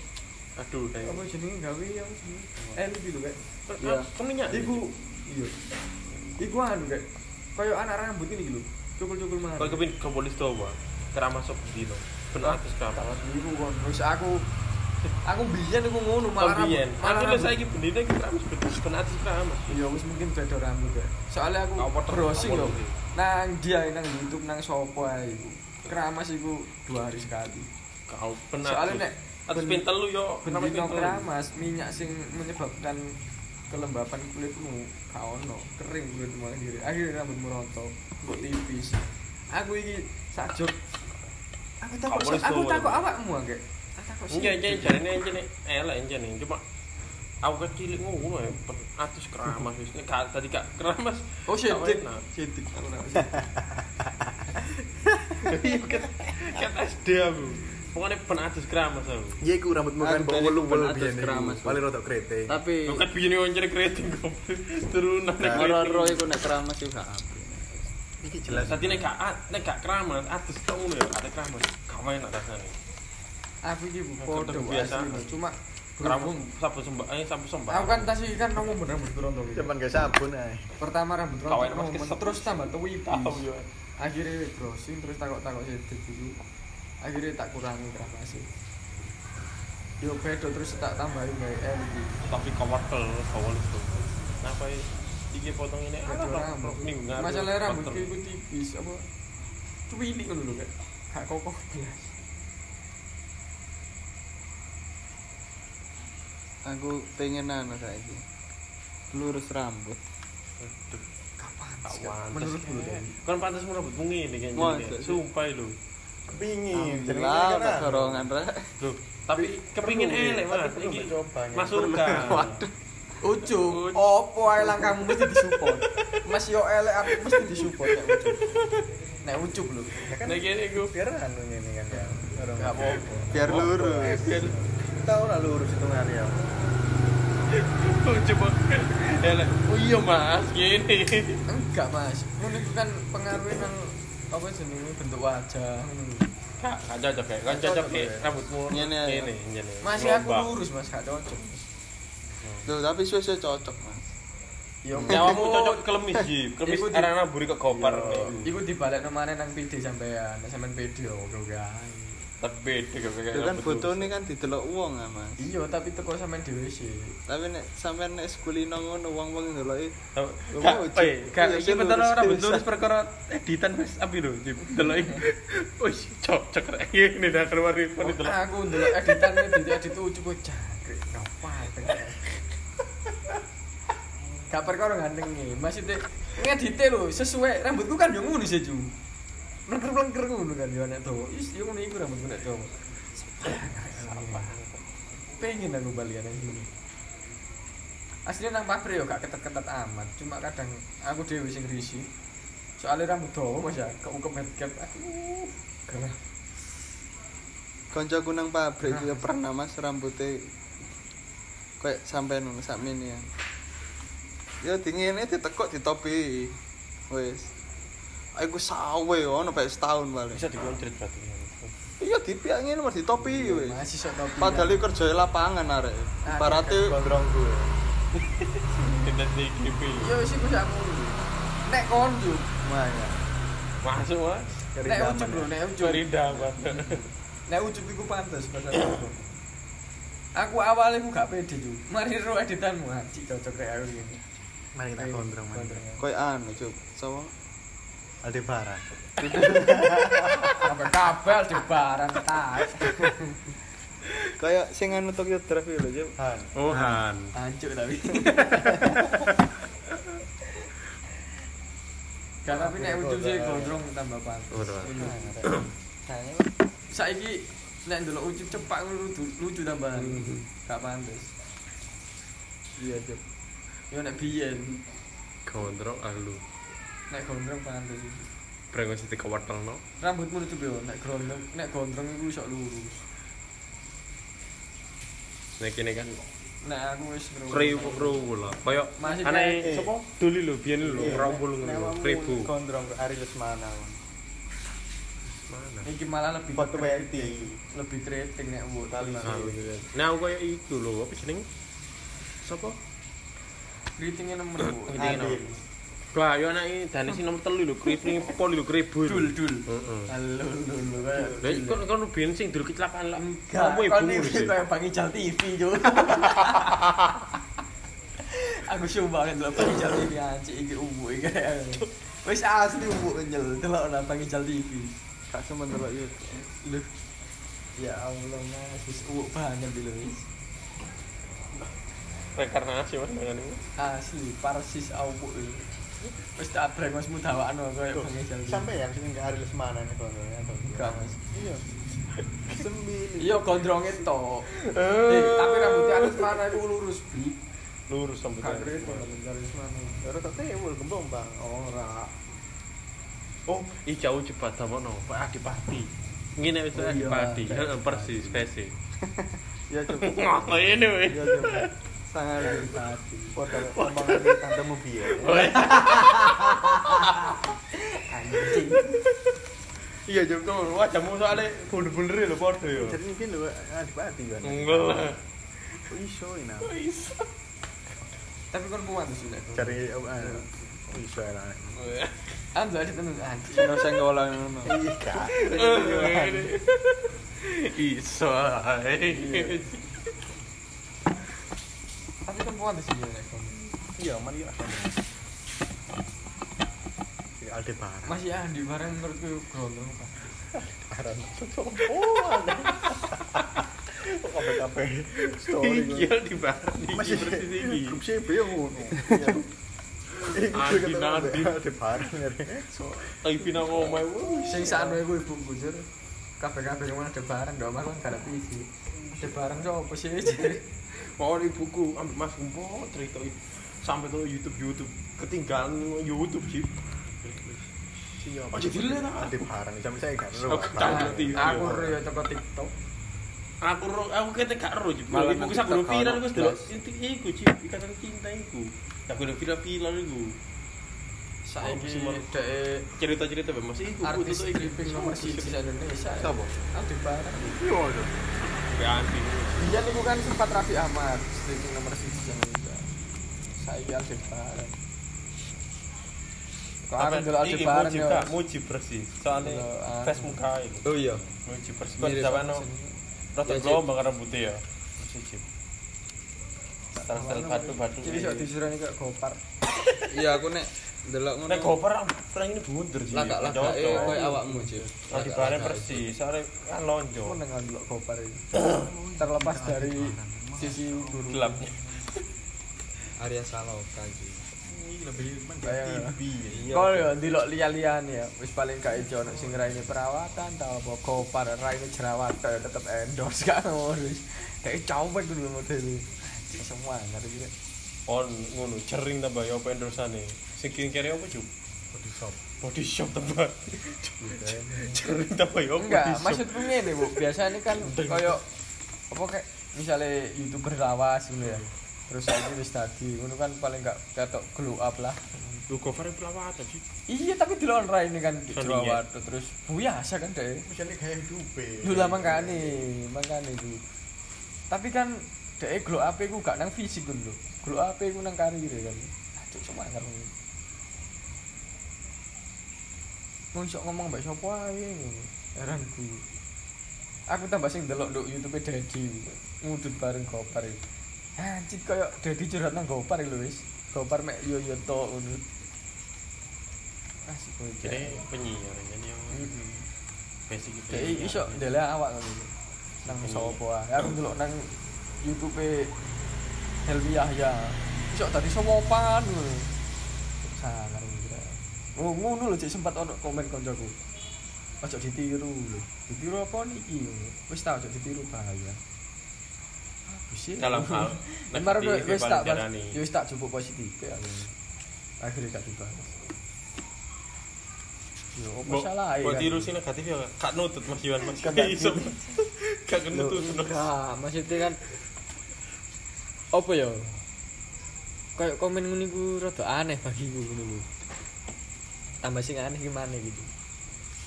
Speaker 4: Aduh, kayak
Speaker 2: apa jenenge gawe apa jenenge? Eh lebih lho kayak.
Speaker 5: Iya.
Speaker 4: Temennya.
Speaker 2: Iku iya. Iku anu kayak koyo anak rambut ini gitu. Cukul-cukul mah.
Speaker 4: Kau kepin ke polis tuh apa? Kera masuk di lo. Benar atas kera.
Speaker 2: Iku kon wis aku aku biyen aku ngono malah rambut-
Speaker 4: Kambien.
Speaker 2: malah
Speaker 4: Oh, Aku udah
Speaker 2: rambut-
Speaker 4: saya gitu bendina kera masuk benar atas kera mas.
Speaker 2: Iya, wis mungkin beda rambut ya. Soalnya aku
Speaker 4: Apa ter-
Speaker 2: browsing
Speaker 4: apa
Speaker 2: loh.
Speaker 4: ter-
Speaker 2: Nang dia nang YouTube nang sopo ae iku. Keramas iku dua hari sekali.
Speaker 4: Kau benar.
Speaker 2: Soalnya nek
Speaker 4: Nah, atas
Speaker 2: ben-
Speaker 4: pintel lu yo. Kenapa
Speaker 2: bendino
Speaker 4: pintel?
Speaker 2: keramas minyak sing menyebabkan kelembapan kulitmu gak ono kering kulit malah diri akhirnya rambut merontok kok tipis aku iki sajok aku takut
Speaker 4: Kamu
Speaker 2: aku
Speaker 4: iso,
Speaker 2: takut
Speaker 4: ya.
Speaker 2: awakmu agak aku takut sih
Speaker 4: Enggak, enggak, enggak, enggak, enggak, enggak, enggak, enggak, iya, cuma aku kecil ngono ya, ben- atas keramas wis Nek gak- tadi kak keramas.
Speaker 2: oh shit
Speaker 4: Gak
Speaker 2: shit
Speaker 4: enak.
Speaker 2: shit aku nak
Speaker 4: Kat SD aku. Pokoknya benar atas keramas aku.
Speaker 7: Ya iku rambutmu
Speaker 5: kan
Speaker 7: kan
Speaker 5: bau welu-welu
Speaker 7: welu-welu
Speaker 5: biyen iki.
Speaker 7: biyen
Speaker 5: Paling
Speaker 7: Paling rodok keriting.
Speaker 5: Tapi
Speaker 4: Lu kan begini wawancara keriting kok. Turunan
Speaker 2: Nah,
Speaker 5: ora-ora iku nek keramas yo gak apik.
Speaker 7: Iki
Speaker 4: Jelas tadi nek gak at- nek gak keramas, atas tok ngono ya, ada keramas. Gak main nak rasane.
Speaker 2: aku iki
Speaker 4: Nah,
Speaker 2: bodoh
Speaker 4: kebiasaan.
Speaker 2: asli cuma
Speaker 4: Keramas
Speaker 2: berhubung
Speaker 4: sabun sembah, eh sabun sembah.
Speaker 2: aku kan tas iki kan ngomong bener rambut rontok iki.
Speaker 7: Cuman gak sabun ae.
Speaker 2: pertama rambut
Speaker 4: Kawan
Speaker 2: rontok
Speaker 4: mas
Speaker 2: ngomong,
Speaker 4: kesel.
Speaker 2: terus tambah
Speaker 4: tahu
Speaker 2: tuwipis
Speaker 4: yo.
Speaker 2: akhirnya browsing terus takut-takut sedikit dulu akhirnya tak kurangi kerapasnya yo bedo terus tak tambahin kayak LG
Speaker 4: Tapi kawat pel, kawat itu. Kenapa ya? Iki potong ini
Speaker 2: bedo
Speaker 4: apa?
Speaker 2: rambut
Speaker 4: Minggu ngaruh.
Speaker 2: masalah rambut
Speaker 4: Potong.
Speaker 2: itu tipis apa cuwili kan dulu kayak gak kokoh belas
Speaker 5: Aku pengen anu saiki. Lurus rambut.
Speaker 4: Aduh,
Speaker 2: kapan
Speaker 4: gak
Speaker 2: sih
Speaker 4: pantes,
Speaker 2: menurut gue
Speaker 4: kayak. Kan pantas mau rambut bengi nih kayaknya.
Speaker 5: Wah,
Speaker 4: nih, kayak.
Speaker 5: itu-
Speaker 4: Sumpah lu.
Speaker 7: Kepingin.
Speaker 5: Jelas ora sorongan ra.
Speaker 4: Loh, tapi kepingin elek mas.
Speaker 7: belum
Speaker 4: Iki
Speaker 7: dicoba, ya.
Speaker 4: masuk kan. Waduh.
Speaker 2: Ucuk, opo ae langkahmu mesti disupport mas yo elek aku mesti disupport nek ucuk nek ucuk lho
Speaker 4: Nah gini gue.
Speaker 7: Ya kan Biar anu ngene kan ya. Orang
Speaker 2: gak apa-apa
Speaker 5: Biar lurus.
Speaker 7: kita ora lurus itu ngari ya.
Speaker 4: Coba. Elek. Oh iya mas, gini.
Speaker 2: enggak mas ngono iku kan pengaruhnya nang apa jenenge bentuk wajah ngono
Speaker 7: Hmm.
Speaker 2: lho.
Speaker 4: Kak, gak cocok ya, kan cocok ya rambutmu
Speaker 5: Ngene ya.
Speaker 4: Ngene, ngene.
Speaker 2: Masih aku
Speaker 4: Gelombang.
Speaker 2: lurus mas, gak cocok
Speaker 5: Tuh, tapi suwe-suwe cocok, Mas.
Speaker 2: Ya
Speaker 4: Nyawamu cocok kelemis ji, kelemis
Speaker 2: Iku di- Iya.
Speaker 4: arana buri kok koper.
Speaker 7: Oh.
Speaker 2: Iku dibalik nomane nang PD sampean, nek sampean PD ya oke oke
Speaker 7: Iya,
Speaker 2: ae.
Speaker 4: Tapi kok kayak.
Speaker 5: Itu kan
Speaker 4: rambut lu.
Speaker 5: fotone kan didelok wong, ah, Mas.
Speaker 2: Iya, tapi teko sampean dhewe sih.
Speaker 5: Tapi nek sampean nek sekulino ngono wong-wong ndeloki
Speaker 4: Kak, oi, kak,
Speaker 5: Iya,
Speaker 4: iki
Speaker 5: sih,
Speaker 4: bentar
Speaker 5: lurus,
Speaker 4: rambut
Speaker 5: lurus.
Speaker 4: lurus perkara editan wis api lho, Ji. Delok iki. Wih, cocok rek ngene dah keluar
Speaker 2: Oh,
Speaker 4: iPhone delok.
Speaker 2: aku ndelok editan edit edit tuh cukup jangkrik, gak pateng. Gak perkara gantenge, maksudnya ngedite lho sesuai rambutku kan yo ngono sih, Ju. Mlengker-mlengker ngono kan yo nek tuh. Wis yo ngono iku rambutku nek tuh. Pengen aku balikan yang gini. Aslinya nang pabrik yo gak ketat-ketat amat, cuma kadang aku dhewe sing risih. Soalnya rambut dawa Mas ya, keungkep headcap. Aduh, gerah.
Speaker 5: Koncoku nang pabrik juga pernah Mas rambutnya kayak sampean ngono sakmene ya. Ya dingene ditekuk ditopi. Wis. Aku sawe ono pek setahun balik.
Speaker 4: bisa dikontrit berarti
Speaker 5: Iya dipiak ngene mas ditopi wis.
Speaker 2: masih sok topi
Speaker 5: Padahal iki kerja lapangan arek. Ibarate
Speaker 7: gondrong gue
Speaker 4: kita DGP
Speaker 2: ya wis iku sak ngono nek kon yo
Speaker 5: Wah, ya.
Speaker 4: masuk mas
Speaker 2: nek ujug lho nek ujug
Speaker 4: curi damar
Speaker 2: nek ujug iku pantes pasal aku aku awalnya aku gak pede yo mari ro editanmu anjing cocok rek aku ini
Speaker 7: mari kita
Speaker 2: Ayo,
Speaker 7: gondrong mari
Speaker 2: gondrong.
Speaker 5: Koy anu cuk. Sawo.
Speaker 7: Aldebaran
Speaker 2: Sampai kabel di barang tas
Speaker 5: Kayak sing anu Tokyo Drift iki lho cuk.
Speaker 7: Han
Speaker 4: oh han
Speaker 2: hancur tapi Gak tapi nek ujug sih gondrong tambah pantes
Speaker 4: Oh, tambah.
Speaker 2: Ini. saiki nek ndelok ujug cepak lucu lucu tambahan gak pantes
Speaker 5: Iya cuk.
Speaker 2: yo nek biyen
Speaker 4: gondrong alu
Speaker 2: nek gondrong pantes iki.
Speaker 4: brengos itu kewateng no
Speaker 2: rambutmu itu yo nek gondrong nek gondrong iku iso lurus
Speaker 4: nek ini kan
Speaker 2: nek aku wis ngerungok.
Speaker 4: kriwu kriwu lah koyok
Speaker 2: Masih
Speaker 4: aneh
Speaker 7: kayak-
Speaker 4: sopo duli lho biyen lho rombol ngono
Speaker 7: Namamu
Speaker 4: kriwu
Speaker 7: gondrong ke Ari Lesmana
Speaker 4: mana
Speaker 2: iki malah lebih
Speaker 7: Foto
Speaker 2: keriting.
Speaker 7: Weti
Speaker 2: lebih keriting nek wo
Speaker 7: Kali
Speaker 4: Nah, gitu kan. nah aku koyo iku lho apa jeneng sopo
Speaker 2: keritingnya nemen wo
Speaker 7: Adil
Speaker 4: Wah, yo anake dane sing nomor 3 lho, kriting pol lho kribu.
Speaker 2: dul dul
Speaker 4: Heeh.
Speaker 2: halo lho lho kayak
Speaker 4: Lah iki kon kon biyen sing dulu kecelakaan lah.
Speaker 2: enggak
Speaker 4: Kamu
Speaker 2: kon
Speaker 4: ibu
Speaker 2: iki
Speaker 4: sih.
Speaker 2: kayak Bang Ical TV yo aku sumpah banget lho Bang Ical TV anjir iki ubu iki wis asli ubu nyel delok nang Bang Ical TV
Speaker 5: Gak semen delok yo.
Speaker 2: Loh. Ya Allah mas, wis uwuk banget dulu wis.
Speaker 4: Rekarnasi Mas dengan ini.
Speaker 2: Asli, parsis awuk lho. Wis tak breng mas mudawakno koyo bengi jalan.
Speaker 7: Sampai yang sini ke Ari Lesmana nih gondrongnya atau
Speaker 2: Enggak mas.
Speaker 7: Iya Sembil
Speaker 2: Iya gondrongnya tok. Eh, tapi rambutnya harus mana iku lurus, Bi.
Speaker 4: Lurus
Speaker 2: Gak
Speaker 4: sambutan.
Speaker 2: keren kok rambut harus mana.
Speaker 7: Baru tak tewul gembong bang
Speaker 2: Ora.
Speaker 4: Oh, iki jauh cepat sama no, Pak Adipati. Ngene wis
Speaker 2: Oh, iya,
Speaker 4: Adipati,
Speaker 2: Pak
Speaker 4: heeh persis spesi.
Speaker 5: Iya cuk.
Speaker 4: Ngono ini weh.
Speaker 5: Iya cuk. Sangat
Speaker 2: Tadi.
Speaker 7: Foto kembangan di tandemu biar
Speaker 4: Weh,
Speaker 2: Anjing.
Speaker 7: Iya Jom tuh wajahmu soalnya bunder-bunder lho foto ya Jadi mungkin lho Adipati kan
Speaker 4: Enggak lah.
Speaker 7: Kok iso ini
Speaker 2: Tapi kon kuat sih nek.
Speaker 7: Cari eh, oh, Kok iso ya, enak
Speaker 4: Weh.
Speaker 2: Anjir Ah, ada tenun anjing.
Speaker 5: Sino sing ngolah ngono.
Speaker 7: Iya
Speaker 4: Iso. ae.
Speaker 2: Tapi kon kuat sih nek. kon.
Speaker 7: Iya mari lah Aldebaran
Speaker 2: Masih Andi bareng menurutku gondrong Pak.
Speaker 7: Aran Oh ada Kok kabe-kabe Story
Speaker 4: Iki yo di bar. Masih
Speaker 7: Masih
Speaker 4: persis iki.
Speaker 7: Grup CB yang ngono
Speaker 4: Ah, Andi, Andi.
Speaker 7: Aldebaran
Speaker 4: Tapi pina ngomong weh.
Speaker 2: Sing sakno iku ibu bujur. Kabeh-kabeh yang ada bareng, dok malah gak ada TV. Ada bareng sopo sih?
Speaker 4: mau ibuku ambil mas gumpo cerita sampai tuh YouTube YouTube ketinggalan YouTube sih
Speaker 7: Siapa?
Speaker 4: Oh, jadi Oh, lihat, ah.
Speaker 7: Aldebaran Sampai saya gak
Speaker 4: Aku cabut
Speaker 7: Aldebaran.
Speaker 4: di-
Speaker 2: Aku ro ya teko TikTok.
Speaker 4: aku ro aku kata gak ro sih
Speaker 2: Malah
Speaker 4: ibuku
Speaker 2: nanti
Speaker 4: sak guru
Speaker 2: terkau
Speaker 4: viral
Speaker 2: nang
Speaker 4: gue dulu inti iku sih ikatan cinta iku tak guru viral viral iku Apa sih,
Speaker 2: Saiki
Speaker 4: Mal?
Speaker 2: dek
Speaker 4: cerita cerita bang masih iku
Speaker 2: artis
Speaker 4: tuh
Speaker 2: stripping nomor siji di Indonesia.
Speaker 5: Sopo?
Speaker 2: Aldi Barang.
Speaker 4: anti
Speaker 2: Iya niku kan sempat Raffi Ahmad stripping nomor siji di Indonesia. Saiki Aldi Barang. Kok aku ndelok Aldi
Speaker 4: iki
Speaker 2: Barang
Speaker 4: mujib
Speaker 2: yo. ah.
Speaker 4: tak mujib persis soalnya
Speaker 2: Ndelok aku.
Speaker 4: face muka itu
Speaker 5: Oh iya.
Speaker 4: mujib persis kau
Speaker 5: Mirip
Speaker 4: zaman
Speaker 5: sini.
Speaker 4: rata
Speaker 5: Ya, Cip.
Speaker 4: gelombang rambutnya ya mujib Sel-sel batu-batu
Speaker 2: Jadi sok disuruh kok gopar.
Speaker 5: Iya aku nek delok ngono.
Speaker 4: Nek goper perang ini bundur sih.
Speaker 5: Lagak-lagake
Speaker 4: Cocok.
Speaker 5: koyo awakmu, Cip.
Speaker 4: Nah, dibareng persis, soalnya kan lonjo.
Speaker 2: Aku nang ndelok gopar ini. Terlepas dari sisi guru.
Speaker 4: Gelapnya.
Speaker 5: Arya Saloka iki.
Speaker 7: Ini lebih mending
Speaker 2: Kayak-
Speaker 7: TV ya.
Speaker 2: Kau ya ndelok liya-liyan ya, wis paling gak ijo ono sing raine perawatan ta apa kopar raine jerawat kaya tetep endorse gak ngono. Kayak cowok dulu model ini. Semua ngerti gak?
Speaker 4: On ngono jering tambah ya apa endorsane. Sing kiri apa cuk?
Speaker 7: Body shop.
Speaker 4: Body shop tambah. Jering tambah ya apa?
Speaker 2: Enggak,
Speaker 4: body shop?
Speaker 2: maksudku ngene, Bu. Biasane kan koyo apa kayak misalnya youtuber lawas gitu ya terus lagi wis tadi ngono kan paling gak ketok glow up lah
Speaker 4: Lu covernya pelawatan sih.
Speaker 2: iya tapi di lawan Rai ini kan di
Speaker 4: Sony,
Speaker 2: Jawa terus biasa kan deh
Speaker 7: misalnya kayak dupe
Speaker 2: Duh lah mangkane, mangkane ku. Tapi kan dhek glow up ku gak nang fisik ku lho. Glow up ku nang karir kan. Aduh cuma ngerti. Mun sok ngomong mbak sapa ae ngono. Heran ku. Aku tambah sing delok nduk YouTube Dedi. Ngudut bareng Gopar iki. Anjir koyo Dedi curhat nang Gopar iki lho wis. Gopar mek yo yo tok ngono. Asik Mm-hmm. koyo.
Speaker 4: Jadi penyiar ini yang
Speaker 2: Heeh.
Speaker 4: basic gitu.
Speaker 2: Kayak iso ndelek awak ngono lho. Nang
Speaker 4: Hmm.
Speaker 2: sapa wae. Aku ndelok nang YouTube Helmi Yahya. Iso tadi sopan ngono. Sangar kira. Oh ngono lho cek sempat ono komen koncoku. Ojo ditiru lho. Ditiru apa niki? Wis ta ojo ditiru bahaya. Habis
Speaker 4: Dalam hal
Speaker 2: Kemarin
Speaker 4: negatif
Speaker 2: wis
Speaker 4: yang
Speaker 2: tak
Speaker 4: paling diarani.
Speaker 2: wis tak jupuk positif ya. aku. Akhirnya gak dibahas. Yo, apa
Speaker 4: Mbok-
Speaker 2: salah
Speaker 4: mbok tiru sih negatif ya Kak. kak nutut Mas Iwan Mas.
Speaker 2: Kak
Speaker 4: Kak iso.
Speaker 2: nutut.
Speaker 4: Kak nutut.
Speaker 2: enggak maksudnya kan apa ya kayak komen ngene iku rada aneh bagiku ngono lho tambah sing aneh gimana gitu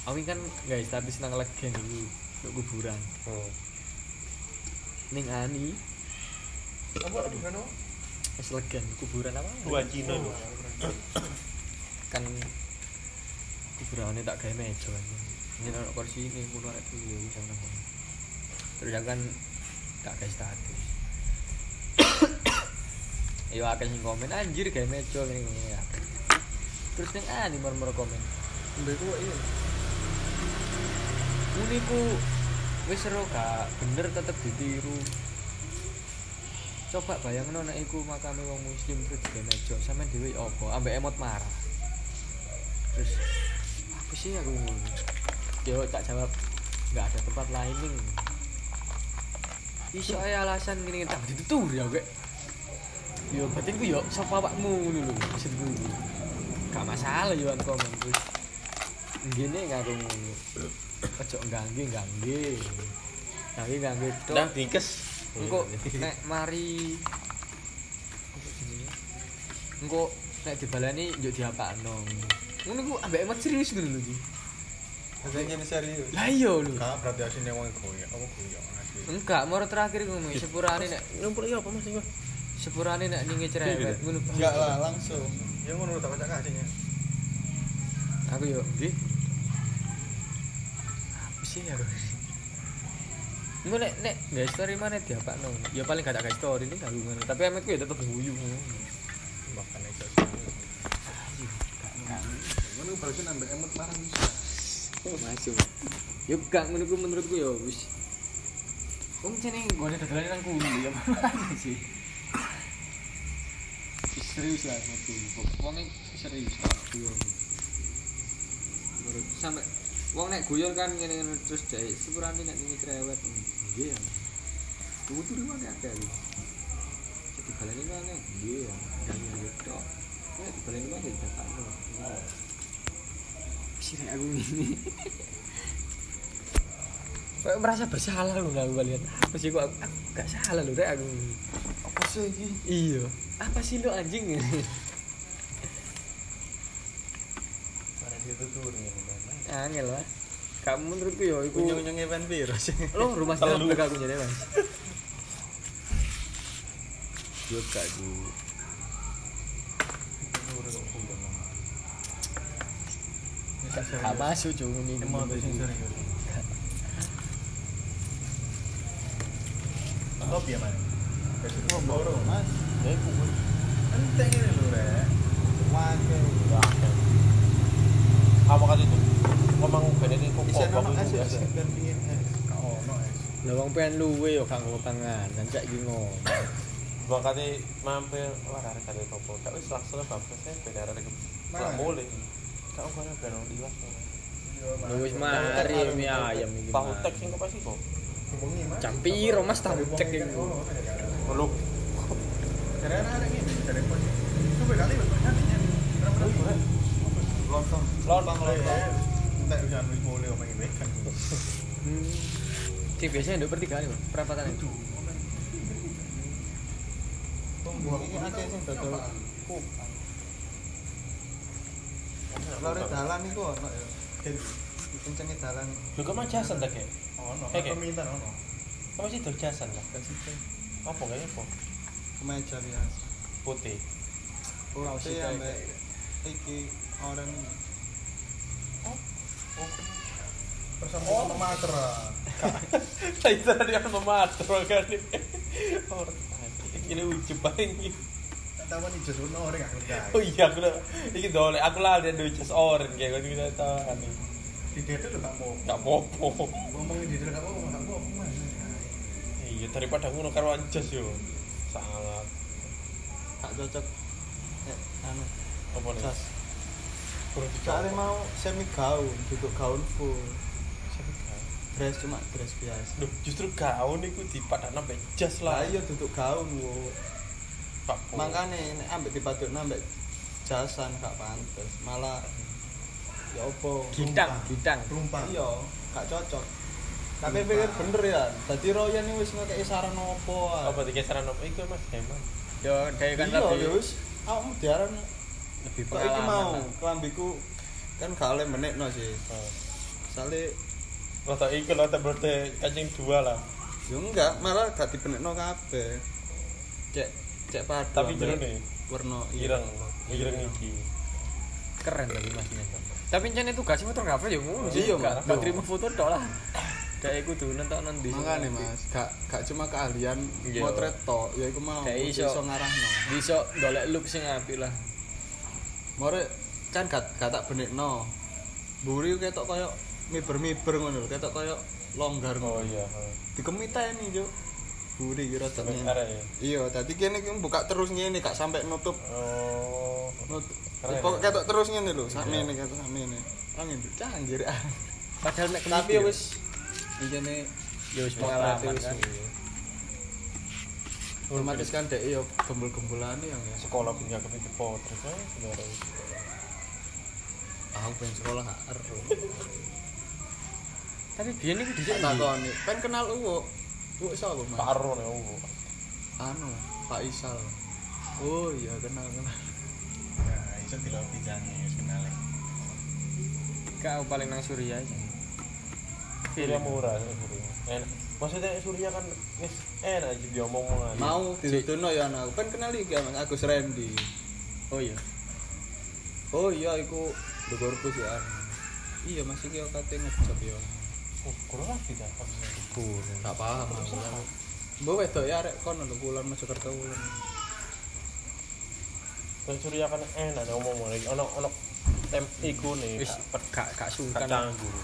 Speaker 2: Awi kan guys status nang legen dulu nang kuburan
Speaker 4: Oh.
Speaker 2: ning ani
Speaker 7: apa lagi kan oh?
Speaker 2: wis legen kuburan apa
Speaker 4: Dua Cina. Mas.
Speaker 2: kan kuburannya tak kayak meja kan ini ada kursi ini kuno ada tuh ya bisa nang kono. terus aku kan tak kayak status Yo akeh sing komen anjir kayak meja ngene ngene ya. Terus ning ani murmur komen.
Speaker 5: Mbak itu iya.
Speaker 2: Muni ku wis seru gak bener tetep ditiru. Coba bayangno nek iku makame wong muslim terus kayak meja sampean dhewe apa ambek emot marah. Terus apa sih aku ngono? Yo tak jawab nggak ada tempat lain ning. Iso ae alasan ngene tak ditutur ya kek. Yo berarti ku yo sapa awakmu dulu maksudku. Gak masalah yo aku komen terus. Ngene ngaku ngono. Ojo ngganggu ngganggu. Ngganggu ngganggu tok.
Speaker 4: Dah dikes.
Speaker 2: Engko nek mari engko nek dibalani njuk diapakno. Ngono ku ambek emot serius ngono lho Ji.
Speaker 7: maksudnya ini serius
Speaker 2: Lah iya lho.
Speaker 7: kak Ah, berarti aslinya wong goyok apa goyok asli
Speaker 2: Enggak, moro terakhir ngomong sepurane nek
Speaker 4: Numpuk iya apa Mas Iwan?
Speaker 2: sepurane nek ninge cerewet ngono.
Speaker 7: enggak lah langsung Iya, ya ngono tak kocak kasihnya
Speaker 2: Aku yo nggih. Apa sih aku? Engko nek nek nggak story mana diapakno. Ya paling gak tak gak story ini gak ngono. Tapi ametku ya tetep guyu.
Speaker 7: bahkan itu
Speaker 5: Ngono barusan nambah emot marah bisa.
Speaker 2: Masuk. Yo gak menurutku menurutku yo wis. Wong cene gone dagelane nang kuwi ya mana sih. Wis serius lah metu. Wong iki serius lah guyon. Menurut sampe wong nek guyon kan ngene-ngene terus dhewe sepurane nek ngene cerewet. Nggih ya. Tunggu turu mana ada lu. Jadi baleni mana? Nggih ya. Dan yo tok. Nek baleni mana dipakno. Sirek aku ini. Kayak merasa bersalah loh aku kalian. Apa sih kok aku, aku gak salah loh rek aku.
Speaker 5: Apa sih ini?
Speaker 2: Iya. Apa sih lo anjing ini?
Speaker 7: karena dia tuh turun ya bener.
Speaker 2: Angel lah. Kamu menurutku ya iku
Speaker 7: ujung-ujungnya pan virus
Speaker 2: lo rumah setelah
Speaker 4: Telu.
Speaker 2: aku jadi Mas.
Speaker 4: Yo gak ku.
Speaker 2: Gak masuk cuma ini.
Speaker 7: emang tuh sing serius kopi ya mas Oh, baru mas.
Speaker 4: Eh, kubur.
Speaker 7: Enteng ini lho, Rek. Waduh.
Speaker 4: Apa kata itu? Ngomong bener iki kok
Speaker 7: Bisa
Speaker 4: kok.
Speaker 7: nama es ya, Sek? Dan pingin es. Kak ono es.
Speaker 2: Lah wong pengen luwe yo kanggo tangan, dan cek iki ngono.
Speaker 4: Gua kate mampir wah arek kate kopo. Kak wis langsung bapak saya benar arek. Lah
Speaker 7: Mana?
Speaker 4: mulai. Kak ora benar diwas.
Speaker 2: Lu wis mari mi ayam iki.
Speaker 4: Tahu
Speaker 2: Mas.
Speaker 4: tek sing kok pasti kok.
Speaker 7: Bengi, Mas.
Speaker 2: Jam piro Mas tahu cek iki.
Speaker 4: Meluk.
Speaker 7: Dari anak-anak ini, dari pos. Coba kali Mas, nanti nyari. Berapa-berapa? Lontong.
Speaker 4: Oh, iya.
Speaker 7: Iya,
Speaker 4: Lontong, lontong.
Speaker 7: Lontong. Entek udah nulis boleh omongin wekan.
Speaker 2: Sing biasanya nduk pertigaan, Mas. Perapatan itu.
Speaker 7: Tuh, omongin.
Speaker 5: Wah, ini akeh sing dodol. Kupang. Lore dalan iku ono ya.
Speaker 7: Dan
Speaker 5: Kencenge dalan.
Speaker 4: Lu kok mah jasan tak kayak?
Speaker 7: ono
Speaker 4: Oke.
Speaker 7: permintaan ono.
Speaker 4: Kok masih dol jasan lah?
Speaker 5: Gak sih Teh?
Speaker 4: Apa kayaknya apa?
Speaker 5: kemeja biasa.
Speaker 4: Putih.
Speaker 5: Putih ambek iki oranye.
Speaker 7: Persamaan sama Matra.
Speaker 4: Saya tadi apa matro kan? Orang ini ujub banget.
Speaker 7: Tak tahu nih jus ono orang aku nggak.
Speaker 4: Oh iya aku udah- ini dolek aku lah ada duit just oren kayak gitu kita tahu kan.
Speaker 7: Di data tuh gak mau.
Speaker 4: Gak popo.
Speaker 7: Ngomongin di data gak mau, gak mau. Mana?
Speaker 4: Iya daripada ngono karo anjas yo. Salah.
Speaker 5: Tak cocok. Ya, anu,
Speaker 4: Apa nih?
Speaker 5: jas.
Speaker 4: Kurang
Speaker 5: Soalnya
Speaker 4: dicoba.
Speaker 5: mau semi gaun, duduk gaun full.
Speaker 4: Siapa gaun?
Speaker 5: Dress cuma dress biasa.
Speaker 4: Duh, justru gaun itu dipadan sampai jas lah.
Speaker 5: Lah iya duduk gaun wo.
Speaker 4: Pak.
Speaker 5: Makane nek ambek dipadukna ambek jasan gak pantes. Malah ya opo.
Speaker 6: Gidang, gidang.
Speaker 7: Rumpang.
Speaker 5: Iya, gak cocok. Tapi pikir bener ya. Tadi Royan ini wis ngekeki saran opo. ah.
Speaker 4: apa tiga saran apa itu mas Heman?
Speaker 6: Yo, dari kan
Speaker 5: Iya, ya
Speaker 6: lebih
Speaker 5: wis. Aku diaran
Speaker 6: lebih
Speaker 5: kok iki
Speaker 6: pengalaman.
Speaker 5: mau
Speaker 6: lah.
Speaker 5: kelambiku kan gak oleh menekno sih.
Speaker 4: Oh.
Speaker 5: Sale
Speaker 4: Rata iku rata berarti kancing dua lah.
Speaker 5: yo enggak, malah gak dibenekno kabeh. Cek cek padu.
Speaker 4: Tapi
Speaker 5: ambek
Speaker 4: jeru nih,
Speaker 5: Warna
Speaker 4: ireng, ireng iki.
Speaker 5: Iya.
Speaker 6: Keren tapi masnya. Tapi jan itu gak sih fotografer ya ngono sih.
Speaker 5: Iya, Mas.
Speaker 6: gak gak terima foto tok lah. Kayak kudu nentokno ndi.
Speaker 5: Makane Mas, gak gak cuma keahlian
Speaker 6: Iya.
Speaker 5: motret tok, ya iku mau
Speaker 6: Kayak
Speaker 5: kudu
Speaker 6: iso.
Speaker 5: iso ngarahno.
Speaker 6: Bisa golek look sing apik lah.
Speaker 5: More kan gak gak tak benekno. Mburi ketok koyo miber-miber ngono lho, ketok koyo longgar
Speaker 4: Oh
Speaker 5: ngono.
Speaker 4: iya.
Speaker 5: Dikemiteni, Juk. Mburi kira tak
Speaker 4: Sampai arah ya.
Speaker 5: Iya, tadi kene iki buka terus ngene gak sampai nutup.
Speaker 4: Oh.
Speaker 5: Nutup.
Speaker 4: Keren,
Speaker 5: Pokok
Speaker 4: ya?
Speaker 5: ketok terus ngene lho, sakmene ketok sakmene. Angin canggir. ah.
Speaker 6: Padahal nek
Speaker 5: Tapi ya wis ngene
Speaker 6: ya wis
Speaker 5: pengalaman
Speaker 6: pengalaman kan.
Speaker 5: otomatis kan dek yo gembul-gembulane yang ya.
Speaker 4: Sekolah punya kami di potret kan.
Speaker 5: Ah, Aku pengen sekolah HR.
Speaker 6: Tapi biyen iku dhisik ndi?
Speaker 5: Takoni, pengen kenal Uwo. Uwo sapa, Mas?
Speaker 4: Paro nih ungu.
Speaker 5: Anu, Pak Isal. Oh iya kenal kenal.
Speaker 7: Nah, itu di lobi jangan kenalin.
Speaker 6: Kau paling nang Surya aja.
Speaker 4: Surya murah sih Surya. Enak. Maksudnya Surya kan wis enak aja dia ngomong
Speaker 5: Mau dituno ya anak. Pengen kenal iki Mas Agus Randy.
Speaker 6: Oh iya.
Speaker 5: Oh iya iku The Corpus ya. anu. Iya Mas iki yo kate ngejob yo.
Speaker 4: Oh, Kurang lagi dah.
Speaker 5: Gak paham aku. Mbok wedok ya arek kono lho kulon Mojokerto kulon.
Speaker 4: Dan Surya kan enak nih ngomong lagi. Ono ono tem iku nih.
Speaker 6: Wis gak gak
Speaker 4: Gak
Speaker 6: sungkan.
Speaker 4: canggung.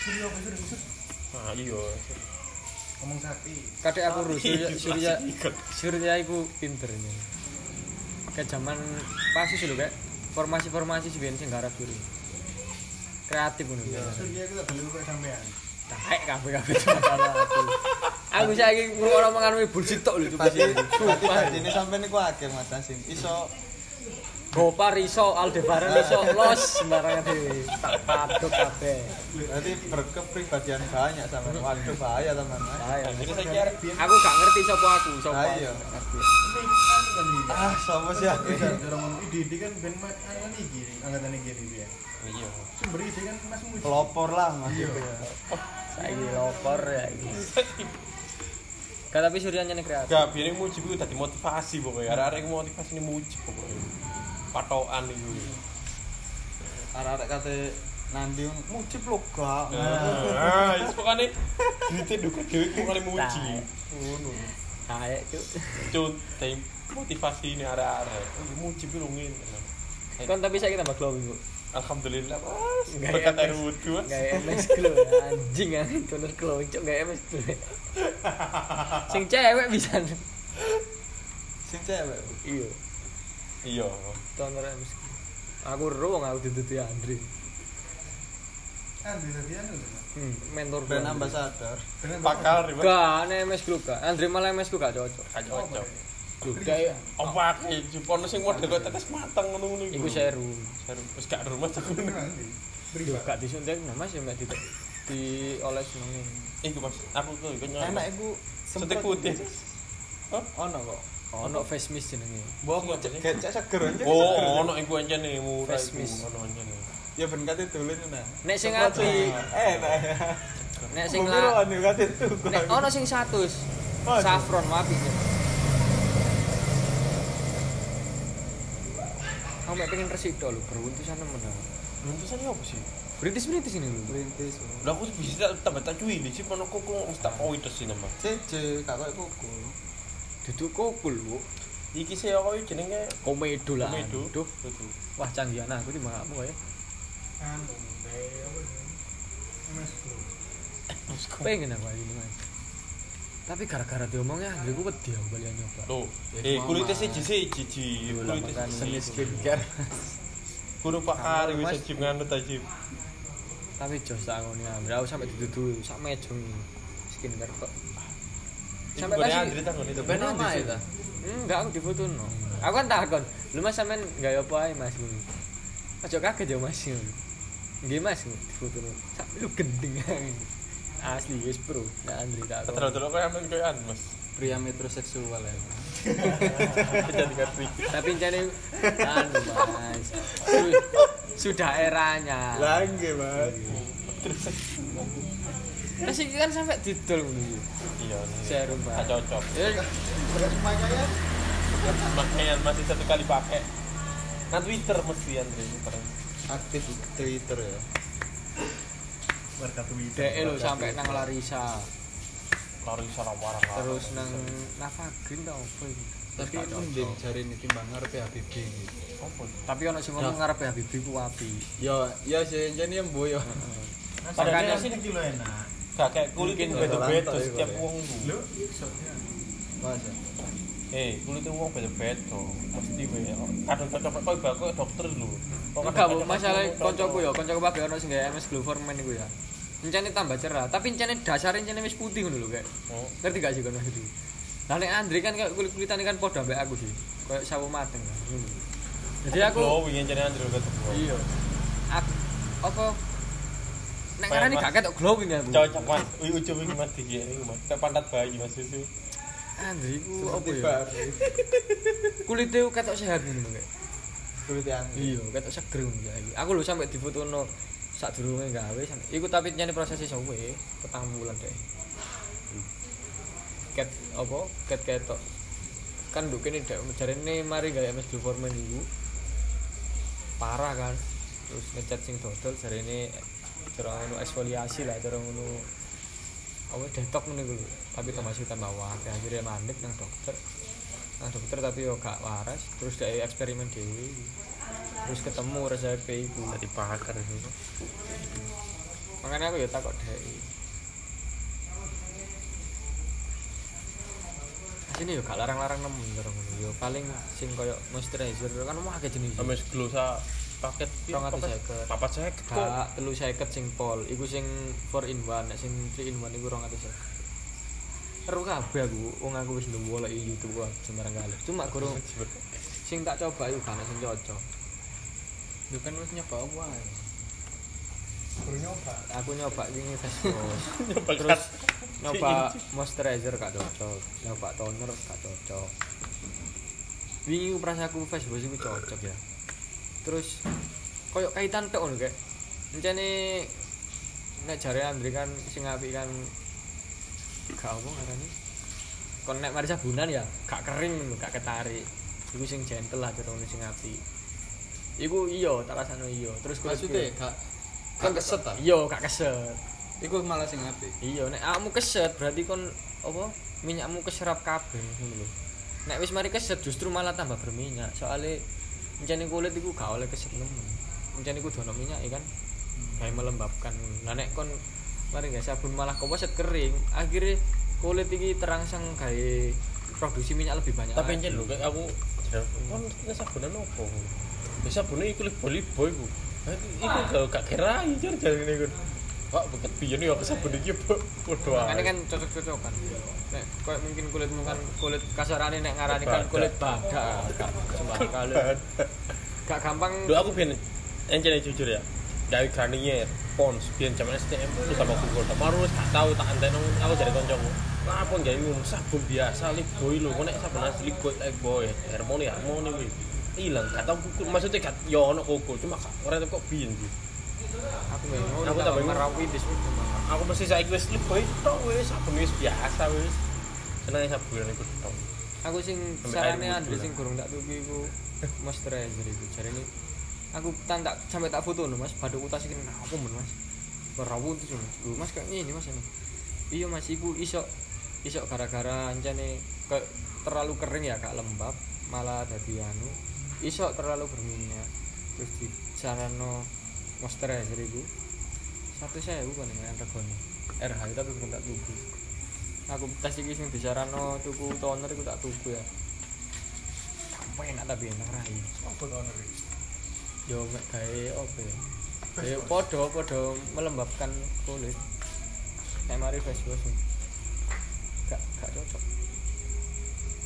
Speaker 7: Suruh apa suruh khusus?
Speaker 4: Nah iya.
Speaker 7: Ngomong sapi.
Speaker 6: Kadek aku rusuh Surya Surya
Speaker 4: Pasti ikut.
Speaker 6: Surya iku pinternya. Kayak zaman pasus lho kayak formasi-formasi sih biyen sing garap dulu. Kreatif ngono.
Speaker 7: Surya itu tak beli kok sampean.
Speaker 6: Taek kabeh-kabeh cuma karo aku. Aku saiki ngurung orang mengalami bullshit tok lho coba
Speaker 5: Tadi
Speaker 6: sih.
Speaker 5: tadi ini sampean niku akeh Mas Asim. Iso
Speaker 6: Gopar iso, Aldebaran iso, Los sembarangan dhewe. Tak padok kabeh.
Speaker 5: berarti berkepribadian banyak sama waduh bahaya teman.
Speaker 6: Bahaya.
Speaker 4: Jadi saya kira
Speaker 6: Aku gak ngerti sapa aku, sapa.
Speaker 5: Ah iya.
Speaker 7: Ini kan kan gini.
Speaker 5: Ah, sama sih aku.
Speaker 7: Kita dorong Iya, ngomong ide ide kan ben mat angan iki, angkatan iki dia.
Speaker 4: iya.
Speaker 7: Sumber ide kan Mas Muji.
Speaker 5: Pelopor lah Mas itu ya.
Speaker 6: Saiki loper ya iki. Gak tapi Surya nyene kreatif.
Speaker 4: Gak biarin mujib itu tadi motivasi pokoknya. Ada-ada yang motivasi ini mujib pokoknya. Patokan itu.
Speaker 5: arek-arek kate nandi mucip lo gak
Speaker 4: Nah, itu pokoknya duitnya duka dewi pokoknya muji.
Speaker 6: Tai.
Speaker 4: Ngono.
Speaker 6: Taek cuk.
Speaker 4: Cun, tapi motivasi ini ada-ada. Muji itu ngin.
Speaker 6: Kon tapi saya tambah glowing kok.
Speaker 4: Alhamdulillah mas.
Speaker 6: Nggak ya,
Speaker 4: Berkat
Speaker 6: enak.
Speaker 4: air wudhu mas.
Speaker 6: Gaya MS Glow anjing ah tulis Glow cok gaya MS Glow. Sing cewek bisa.
Speaker 5: sing cewek
Speaker 6: Iya,
Speaker 4: Iya.
Speaker 6: toner MS Glow. Aku ruang aku dituti Andre.
Speaker 7: Kan bisa dia tuh.
Speaker 6: Hmm, mentor
Speaker 5: brand ambassador
Speaker 7: Dengan
Speaker 4: Pakal ribet.
Speaker 6: Gak, nek MS Glow gak. Andre malah MS Glow gak cocok.
Speaker 4: Gak cocok.
Speaker 6: Glow kayak
Speaker 4: Apa aku jupon sing model kok tetes matang ngono ngono.
Speaker 6: iku seru.
Speaker 4: Seru. Terus gak rumah tuh.
Speaker 7: nanti. Beri
Speaker 6: Yo gak disuntik nah, Mas yo gak di dioles meneng.
Speaker 4: Iku mas. Aku tuh iku nyoba.
Speaker 5: enak iku
Speaker 4: Suntik putih.
Speaker 5: Ono kok.
Speaker 6: Ono face mist jenenge.
Speaker 5: Mbok aku cek gak cek seger aja.
Speaker 4: Oh, ono iku aja nih murah
Speaker 6: Face
Speaker 4: iku,
Speaker 6: mist.
Speaker 4: ono aja nih.
Speaker 5: Ya ben kate dolen nah.
Speaker 6: Nek sing ati,
Speaker 5: Eh nah.
Speaker 6: nek sing
Speaker 5: Sing
Speaker 6: la,
Speaker 5: lah. Ono kate
Speaker 6: nek ono sing 100.
Speaker 5: Aduh.
Speaker 6: Saffron mapi. Aku mek pengen resiko lho, beruntusan nemen aku.
Speaker 4: Runtusan apa sih?
Speaker 6: Berintis-berintis ini lho.
Speaker 5: Perintis.
Speaker 4: Lah aku bisa tambah tak cuy, sih ono kok kok tak kau itu sih nama.
Speaker 5: Cece kakak iku kuku.
Speaker 6: Duduk kokul lho.
Speaker 4: Iki sih aku jenenge
Speaker 6: Komedo lah.
Speaker 4: Komedo.
Speaker 6: Duh. Wah canggihan aku di makmu ya.
Speaker 7: Anu, deh, apa sih? MS Pro.
Speaker 6: Pengen aku ayo Mas. Tapi gara-gara diomongnya Andre ku wedi aku balian nyoba.
Speaker 4: Tuh,
Speaker 5: Ya,
Speaker 4: eh
Speaker 5: cuma
Speaker 4: kulitnya
Speaker 5: mah.
Speaker 4: sih jisi, jiji,
Speaker 6: Dulu lah
Speaker 4: kulitnya
Speaker 6: makan seni
Speaker 4: sih
Speaker 6: skincare.
Speaker 4: Guru pakar,
Speaker 5: Mas.
Speaker 4: bisa jim nganut aja.
Speaker 6: Tapi jos tak ngoni Andre, aku sampe dituduh sak mejong ini. skincare kok. Sampai
Speaker 4: Sampai
Speaker 6: kasih-
Speaker 4: Andri tangan itu.
Speaker 6: Ben apa ya ta? Enggak, aku difotono. Aku kan takon, "Lu Mas sampean gawe apa ae Mas?" ngono. Ojo kaget ya Mas. ngono. Nggih Mas, ngono, difotono. Sak lu gendeng ngono. Asli wis pro. Nah, Andre tak.
Speaker 4: Terus-terus kau yang kau an mas.
Speaker 5: Pria metroseksual ya.
Speaker 4: Jadi ngerti.
Speaker 6: tapi jadi anu mas Su- sudah eranya
Speaker 5: Lah nggih, Mas.
Speaker 6: terus ini kan sampai didol dulu
Speaker 4: Iya, nih.
Speaker 6: serum
Speaker 4: tak
Speaker 6: pak
Speaker 4: cocok.
Speaker 6: Eh,
Speaker 4: Makanya masih satu kali pakai. Nah Twitter mesti Andri Twitter.
Speaker 5: Aktif di Twitter ya.
Speaker 7: Warga Twitter.
Speaker 6: DE lo sampai nang Larisa
Speaker 4: Lari salah warang.
Speaker 6: terus nang Nava Green tau apa ini
Speaker 5: Tapi mending jari ini timbang ngarep HBB gitu.
Speaker 6: tapi ono sing ngomong ngarep Habibie ku api
Speaker 5: Yo, yo sih jadi yang boyo.
Speaker 4: Padahal
Speaker 7: Padahal
Speaker 4: sih
Speaker 7: sih kilo enak.
Speaker 4: gak kayak kulitnya
Speaker 5: Mungkin
Speaker 4: beda-beda
Speaker 5: lantai
Speaker 6: ya,
Speaker 4: setiap
Speaker 5: kali.
Speaker 4: uang dulu.
Speaker 7: Lu, soalnya.
Speaker 5: Masa?
Speaker 4: Eh, kulitnya uang beda-beda. Mesti wae. Kadang cocok kau baku dokter lu. Kok
Speaker 6: enggak
Speaker 4: kadang
Speaker 6: bu
Speaker 4: cocok
Speaker 6: masalah
Speaker 4: cocok.
Speaker 6: koncoku ya koncoku pakai ono sing gawe MS Glow Forman iku ya Encane tambah cerah, tapi encane dasarnya encane wis putih ngono lho kayak.
Speaker 4: Oh,
Speaker 6: Ngerti gak sih kono itu? Nah nek Andre kan kayak kulit-kulitane kan padha mbek aku sih. Kayak sawo mateng. kan, ngono. Jadi aku
Speaker 4: glowing yang jadi Andri udah tuh.
Speaker 6: iya aku apa nek
Speaker 4: Kayak
Speaker 6: ngarani
Speaker 4: Mas-
Speaker 6: gak ketok glowing aku
Speaker 4: Cocok mas. Wih ujung ini mas tinggi ini mas. Kayak pantat bayi mas susu.
Speaker 6: Andri ku apa
Speaker 5: Seperti
Speaker 6: ya
Speaker 5: bar.
Speaker 6: kulite ku ketok sehat ngono kayak
Speaker 5: Kulit yang
Speaker 6: iya ketok seger ngono kayak aku lho sampe difotono sak durunge gawe sampe iku tapi nyane prosesnya suwe petang bulan deh ket apa ket ketok kan duk kene dek jarene mari gawe MS Blue Forman iku parah kan terus ngecat sing dodol jarene cara ngono eksfoliasi lah cara ngono apa detok ngene iku lho tapi tambah sih tambah wae akhirnya mandek nang dokter nang dokter tapi yo gak waras terus dek eksperimen dhewe terus ketemu resep iku
Speaker 4: Tadi pakar ini.
Speaker 6: makanya aku ya takut dek sini yo gak larang-larang nemu cara ngono yo paling sing koyo moisturizer kan mau akeh jenis
Speaker 4: Ames glosa paket
Speaker 6: Rong atus
Speaker 4: paket-
Speaker 6: seket.
Speaker 4: Papat saya kok.
Speaker 6: gak telu seket sing pol iku sing 4 in 1 nek sing 3 in 1 iku 250 seru kabeh aku wong aku wis nemu oleh YouTube aku sembarang kali cuma kurang sing tak coba iku gak ana sing cocok
Speaker 5: Lu kan wis nyoba wae.
Speaker 7: Baru nyoba.
Speaker 6: aku nyoba ini face wash
Speaker 4: Terus
Speaker 6: nyoba moisturizer gak cocok nyoba toner gak cocok wingi perasaanku face wash iku cocok ya terus koyo kaitan tok ngono kayak encane nek jare Andre kan sing apik kan gak apa ngarani kon nek mari sabunan ya gak kering ngono gak ketarik iku sing gentle lah terus sing apik iku iya tak rasakno iya terus
Speaker 5: Maksudnya gak kan keset ta?
Speaker 6: iya gak keset
Speaker 5: Iku malah sing apik.
Speaker 6: iya nek awakmu keset berarti kon apa minyakmu keserap kabeh ngono lho nek wis mari keset justru malah tambah berminyak soalnya mencani kulit iku gak oleh keset nemen mencani kudu ono minyak ya kan
Speaker 4: Hmm.
Speaker 6: kayak melembabkan nah nek kon mari gak sabun malah kewaset kering akhirnya kulit iki terangsang kayak produksi minyak lebih banyak
Speaker 4: tapi
Speaker 6: lagi.
Speaker 4: anjir lho kayak aku kan kita sabunan apa ya sabunnya itu lebih boli boy bu itu
Speaker 6: Ah.
Speaker 4: gak gak kira anjir jadi ini kan kok beket biyen ya aku sabun iki bu bodoh
Speaker 6: makanya kan cocok-cocokan nek koyo mungkin kulitmu kan kulit kasarane nek ngarani kan
Speaker 4: Badak.
Speaker 6: kulit badak gak sembarang gak gampang
Speaker 4: Lho aku biyen encene jujur ya. Dari Granier, Pons, biyen zaman STM itu sama Google. Tak maru wis gak tau tak anteno aku jadi kancaku. apa nggak ini sabun biasa ligoy lho kok nek sabun asli eh, ligoy ligoy harmoni harmoni wih hilang gak tau kuku maksudnya gak ya ono koko cuma gak orang kok biyen iki.
Speaker 6: aku bingung
Speaker 4: Aku
Speaker 6: aku
Speaker 4: tak
Speaker 6: tak
Speaker 4: bingung.
Speaker 6: merawi bis
Speaker 4: aku mesti saiki wis ligoy tok wis sabun wis biasa wis seneng sabun iku tok
Speaker 6: aku sing
Speaker 4: Sampai air
Speaker 6: sarane
Speaker 4: Eh.
Speaker 6: Andre
Speaker 4: muncul,
Speaker 6: sing gurung tak tuku iku moisturizer iku jarene aku tak tak sampai tak foto lho Mas baduk utas iki apa men Mas merawun terus Mas Lho, Mas kayak ngene Mas ini iya Mas iku iso iso gara-gara ancane ke terlalu kering ya kak lembab malah dadi anu iso terlalu berminyak terus di sarano moisturizer iku satu saya bukan dengan regone RH tapi belum tak tuku aku tes iki sing disarano tuku toner iku tak tuku ya sampai enak tapi enak rai
Speaker 7: Apa tau ngeri?
Speaker 6: yo mek gawe opo ya ya podo podo melembabkan kulit nek mari face wash ini. gak gak cocok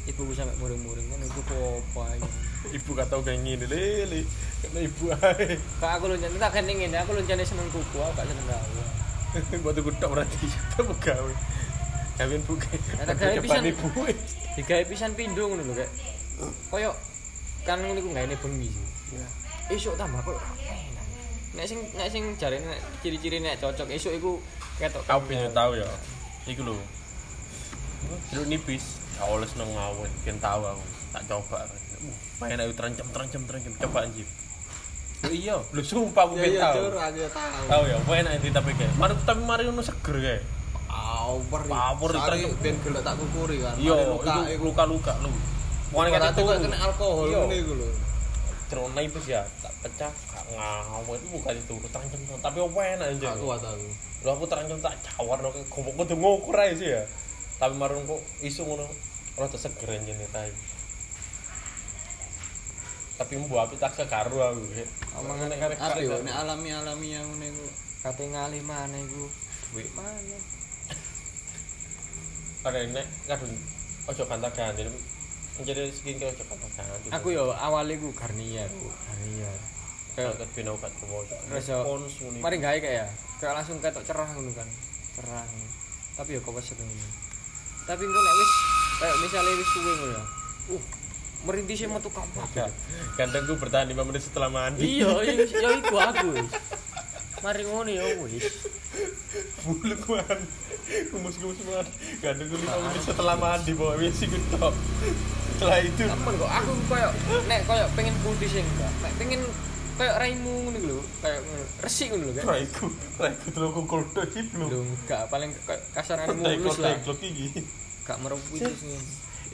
Speaker 6: ibu bisa mek muring-muring kan itu apa aja
Speaker 4: ibu gak tau kayak ngene lele kena ibu ae
Speaker 6: kak aku luncan tak kene ngene aku luncane seneng kuku aku gak seneng gawe
Speaker 4: buat aku tok berarti tetep gawe kawin buke
Speaker 6: Ada gawe pisan.
Speaker 4: ibu
Speaker 6: digawe pisan pindho ngono lho kek koyo kan ngono iku gawe bengi sih esuk tambah koyo enak nek sing nek sing jarene nek ciri-ciri nek cocok esuk iku ketok
Speaker 4: kau pengen tahu ya iku lho lu nipis awal seneng ngawet pengen tahu aku tak coba Uh, pengen ayo terancam terancam terancam coba anjir Lu iya lu sumpah
Speaker 5: Ya,
Speaker 4: aku pengen tahu
Speaker 5: aja tahu.
Speaker 4: tahu ya pengen nanti tapi kayak mari tapi mari nu seger kayak
Speaker 5: Power.
Speaker 4: Power,
Speaker 5: Sari
Speaker 4: ditangkep.
Speaker 5: ben gelek tak kukuri kan.
Speaker 4: iya
Speaker 5: Mari luka
Speaker 4: itu
Speaker 5: iku.
Speaker 4: luka luka lu Pokoknya kata
Speaker 5: Berarti kok
Speaker 4: turu.
Speaker 5: kena alkohol
Speaker 4: gitu. Iya.
Speaker 5: ngene iku lho.
Speaker 4: Cerona nipis ya tak pecah gak ngawet itu bukan itu terancam tapi apa enak anjir
Speaker 5: Aku kuat aku.
Speaker 4: lho aku terancam tak cawar no gobok kudu ngukur ae sih ya tapi marun kok isu ngono rada seger anjene tai tapi mbu api tak kekaru aku ya.
Speaker 6: Omong nek
Speaker 4: Nek-
Speaker 5: Ada yo nek
Speaker 4: nek-
Speaker 5: alami-alami yang ngene iku.
Speaker 6: kate ngalih mana iku duit mana
Speaker 4: ada nek kadun ojo kanta ganti menjadi skincare ojo kanta ganti
Speaker 6: aku yo awal iku Garnier Bu. Garnier
Speaker 4: kayak
Speaker 6: kayak
Speaker 4: kedine Kan obat kewojo
Speaker 6: Terus yo, mari gawe kayak ya kayak langsung ketok cerah ngono kan cerah tapi yo kok wes ngono tapi engko nek wis kayak misalnya wis suwe ngono ya uh merintih sih metu kampak
Speaker 4: gantengku bertahan 5 menit setelah mandi
Speaker 6: iya iya iya, iku aku wis mari ngono ya wis
Speaker 4: bulu kuman kumus kumus banget gantengku 5 menit setelah mandi bawa misi gitu setelah itu
Speaker 6: temen kok aku koyo nek koyo pengen putih sih enggak nek pengen koyo raimu ngono iku lho kayak ngono resik ngono lho kan
Speaker 4: Raiku, Raiku terus aku koldo sih
Speaker 6: Lho
Speaker 4: belum.
Speaker 6: enggak paling kayak kasaran mulus
Speaker 4: Raiku
Speaker 6: lah.
Speaker 4: Raiku gigi.
Speaker 6: Gak merempuk itu sih.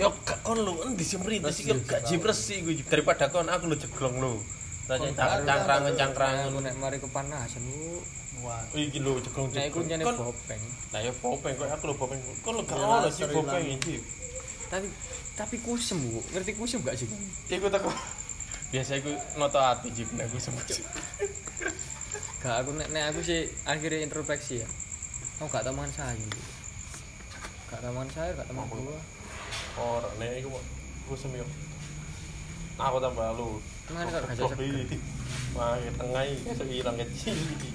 Speaker 4: Yo gak kon lu endi sih merintis iki gak jipres sih gue daripada kon aku lu jeglong lu. Tanya cang- cangkrangan cangkrangan.
Speaker 6: Aku nek mari kepanasan lu.
Speaker 7: Wah,
Speaker 4: Iki lu jeglong
Speaker 6: Nek iku
Speaker 4: jeglong.
Speaker 6: nyane
Speaker 4: Kon
Speaker 6: bopeng.
Speaker 4: nah yo popeng kok aku lu popeng. Kon lu gak ono sih popeng iki.
Speaker 6: Tapi tapi kusem bu, ngerti kusem gak sih?
Speaker 4: Iku tak biasa iku noto ati jip nek aku sembuh.
Speaker 6: Gak aku nek nek aku sih akhirnya introspeksi ya. Aku gak tau makan sayur. Bu. Gak tau makan sayur, gak tau makan buah.
Speaker 4: Ora nek iku aku sembuh. Aku tambah lu.
Speaker 6: Cuman kok gak cocok.
Speaker 4: Wah, ya tengah iki iso ilang kecil iki.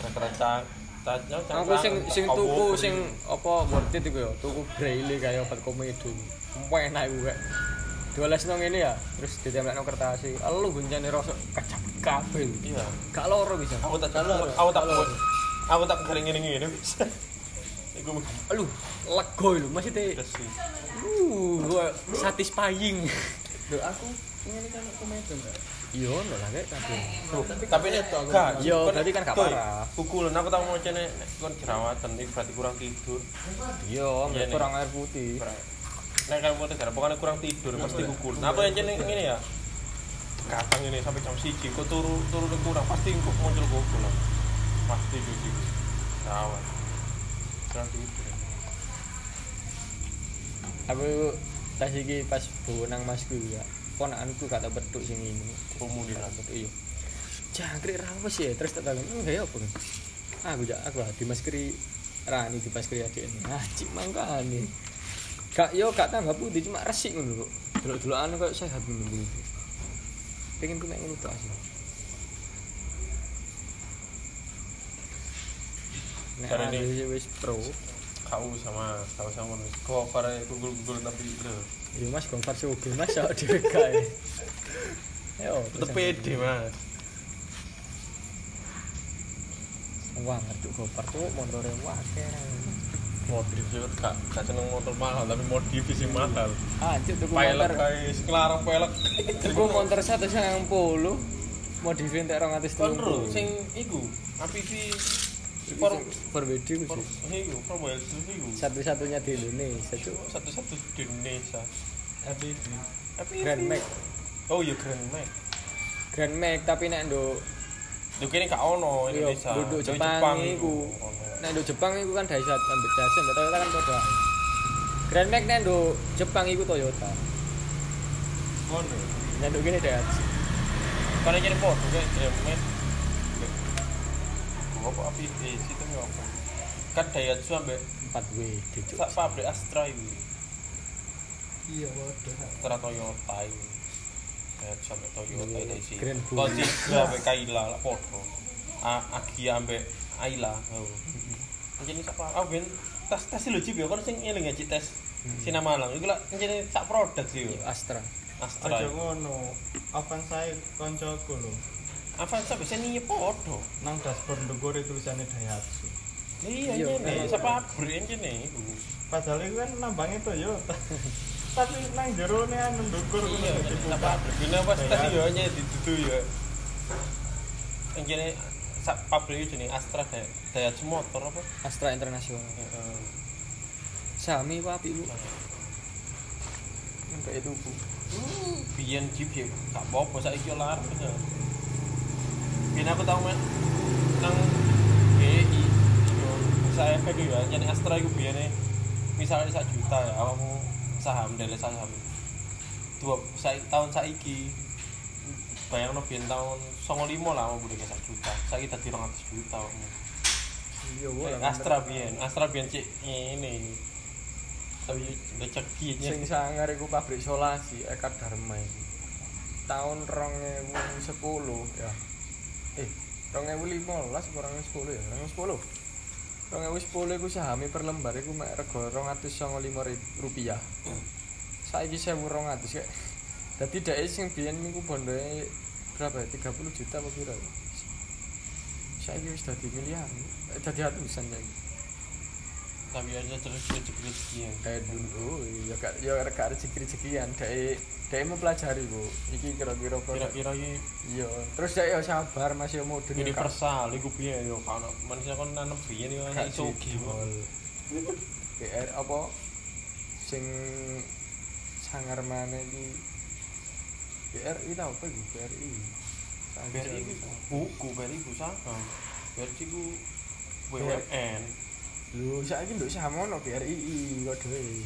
Speaker 4: Keracang. ya,
Speaker 6: Aku sing sing tuku sing apa worth it iku ya, tuku braille kayak obat komedo. Empuk enak iku kayak. Dolesno ngene ya, terus ditemplekno kertas e. Elu guncane rosok kecap kabel.
Speaker 4: Iya.
Speaker 6: Gak loro bisa.
Speaker 4: Aku tak aku tak aku tak keringin ini. Iku
Speaker 6: Aduh, legoy lho maksudnya.
Speaker 4: mesti
Speaker 6: Uh, gua satisfying.
Speaker 5: Lho aku ngene kan aku metu enggak.
Speaker 6: Iya, lho lah kayak kabeh.
Speaker 4: tapi ini gak.
Speaker 6: Iya, berarti kan gak parah.
Speaker 4: Pukulan aku tak mau cene nek kon jerawatan iki berarti kurang tidur.
Speaker 6: Iya,
Speaker 4: Iya, nih.
Speaker 6: kurang air putih.
Speaker 4: Kurang- Nek kamu tuh gara pokoknya kurang tidur pasti pukul. Nah, aku yang cene ngene ya. Kadang ini sampai jam 1 kok turu turu kurang pasti engko muncul gokul. Pasti cuci. Jerawat. Kurang tidur.
Speaker 6: Aku tas iki pas bawa nang masku ya. Ponakanku gak tau petuk sing ini.
Speaker 4: Kemudian aku
Speaker 6: Petuk iya. Jangkrik rawas ya, terus tak takon, "Hmm, ya apa?" Kan? Aku jak aku di maskeri rani di maskeri adik ini. Ah, cik mangkane. Gak yo gak tambah putih cuma resik ngono kok. Delok-delokan koyo sehat ngono kuwi. Pengen ku mek ngono tok asli. Nek
Speaker 4: Jarene-
Speaker 6: aku sih wis pro.
Speaker 4: tahu sama tahu sama cover Google Google tapi itu
Speaker 6: Iya mas, gombar sih oke mas, awak dhewe kae. Ayo,
Speaker 4: tetep pede mas
Speaker 6: Wah, ngerti gombar tuh montore wae.
Speaker 4: modif sih gak gak seneng motor mahal tapi modif sih mahal
Speaker 6: Anjir tuku
Speaker 4: pelek
Speaker 6: motor.
Speaker 4: guys kelarang pelek
Speaker 6: Tuku motor 190 modifin tak 230.
Speaker 4: kontrol sing iku APV for
Speaker 6: Forbid ku
Speaker 4: for
Speaker 6: sih.
Speaker 4: iku for Wales iku
Speaker 6: Satu-satunya di Indonesia tuh
Speaker 4: satu-satu di Indonesia
Speaker 6: APV.
Speaker 4: APV
Speaker 6: Grand Max.
Speaker 4: oh iya Grand Max
Speaker 6: Grand Max tapi nek nduk
Speaker 4: Yo kene gak ono
Speaker 6: yo
Speaker 4: Indonesia.
Speaker 6: nduk
Speaker 4: Yo
Speaker 6: Jepang iku.
Speaker 4: ono.
Speaker 6: Nek nduk Jepang iku kan Daihatsu ambek Datsun, ambek Toyota kan padha. ae. Grand Max nek nduk Jepang iku Toyota.
Speaker 4: Ngono.
Speaker 6: Nek nduk kene Daihatsu.
Speaker 4: Kan iki foto kan Jerman. Gua apa api di situ yo. Kan Daihatsu ambek
Speaker 6: 4W dicuk.
Speaker 4: sak pabrik Astra iku. Iya, waduh. Astra Toyota iku. Daihatsu ambek Toyota
Speaker 6: Iya,
Speaker 4: dari sini.
Speaker 6: Grand Bulls.
Speaker 4: Kosi ambek Kaila lah foto. A- Agia ambek Aila. Oh. Jadi sak ah ben tes tes lho Cip ya kan sing eling ya Cip, tes.
Speaker 6: Hmm.
Speaker 4: Sinamalang iku lah njene sak produk sih yo.
Speaker 6: Astra.
Speaker 4: Astra.
Speaker 7: Aja ngono. Avan saya koncoku lho.
Speaker 4: Avanza bisa nih podo.
Speaker 7: Nang dashboard ndukure tulisannya Daihatsu.
Speaker 4: Iya
Speaker 6: Iya,
Speaker 4: ini,
Speaker 6: iya.
Speaker 4: siapa pabrik ini?
Speaker 7: Padahal itu kan nambangnya Toyota. Tapi nang jero ne anu ndukur ngono
Speaker 4: Iya,
Speaker 7: dadi
Speaker 4: siapa
Speaker 7: buka.
Speaker 4: pabrik? Ini pas tadi
Speaker 7: Iya.
Speaker 4: ya hanya ditutu ya. Yang ini sak pabrik itu nih Astra daya, daya motor apa?
Speaker 6: Astra Internasional.
Speaker 4: Heeh.
Speaker 6: Sami apa api lu?
Speaker 4: Kayak itu bu. Biyen jeep ya, gak apa-apa saiki yo larang ya. Biyen aku tau men nang BI yo saya efek yo ya, nyari Astra iku biyene misalnya sak juta ya awakmu saham dari saham. Dua saya tahun saiki bayangno biyen tahun 95 lah awakmu budhe sak juta. Saiki dadi 200 juta awakmu.
Speaker 2: Iya,
Speaker 4: Eh, Astra biyen, Astra biyen cek ini. Tapi recekinya
Speaker 2: sing sangar iku pabrik solasi Eka Dharma iki. Tahun 2010 ya. Eh, 2015 apa 2010 ya? 2010. 2010 iku sahami per lembar iku mek rega 295 rib- rupiah. Saiki 1200 kek. Dadi dhek sing biyen niku bondoe berapa ya? 30 juta apa pira? ya? Saiki wis dadi miliar. Eh, Dadi atusan ya.
Speaker 4: tapi aja terus rejeki-rejekian.
Speaker 2: kayak Eh, dulu oh, ya gak ya gak rezeki rezekian dai dai mempelajari bu iki kira-kira produk
Speaker 4: kira-kira ini
Speaker 2: iya terus dai ya sabar masih mau dunia
Speaker 4: universal iku piye yo kan manusia kan nanam biyen yo
Speaker 2: gak
Speaker 4: ana iso ugi kok.
Speaker 2: PR apa sing sangar mana iki BRI tau apa iki BRI
Speaker 4: Biar iku buku biar iku
Speaker 2: Hmm.
Speaker 4: saham biar iku
Speaker 2: Iya.
Speaker 4: BUMN
Speaker 2: lu saiki nduk sama ono BRI kok dhewe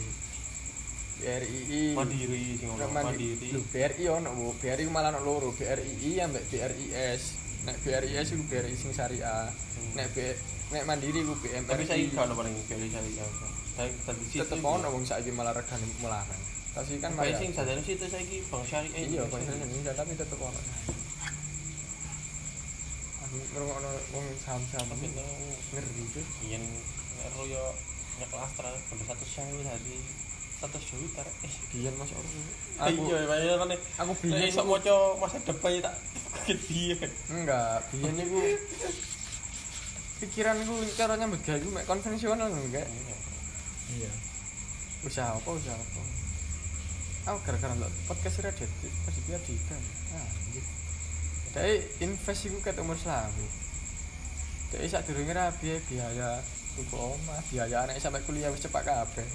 Speaker 2: BRI
Speaker 4: mandiri sing ono mandiri
Speaker 2: Lho, BRI ya, ono Bu. BRI malah ono loro, BRII ambek BRIS. Nek BRIS iku BRI sing syariah. Nek B, nek Mandiri iku BMRI.
Speaker 4: Hmm. tapi saya gak ono paling biar saya ya saya tadi situ
Speaker 2: tetep ono wong saiki malah regane melarang. Tapi kan
Speaker 4: Baik
Speaker 2: malah-
Speaker 4: sing sadane situ saya ki Bang Syariah
Speaker 2: iya padahal Indonesia tapi tetep ono. Aku ngrungokno wong saham-saham
Speaker 4: tapi
Speaker 2: iki ngeri tuh.
Speaker 4: biyen ero yo nyekel Astra kudu 100.000 tadi 100 juta rek. Eh,
Speaker 2: Biyen Mas Oro. Aku
Speaker 4: iya makanya kan
Speaker 2: aku
Speaker 4: Nek
Speaker 2: biyen
Speaker 4: iso maca masa depan ya tak gede
Speaker 2: Enggak, biyen iku pikiranku cara nyambut gawe iku mek konvensional lho, enggak. Iya. Usaha apa, usaha apa? Aku gara-gara nonton podcast Radit, pas dia diikan. Ah, anjir. Dai invest iku ket umur selawe. Dai sak durunge rabi biaya tuku omah, biaya anak sampai kuliah wis cepak kabeh.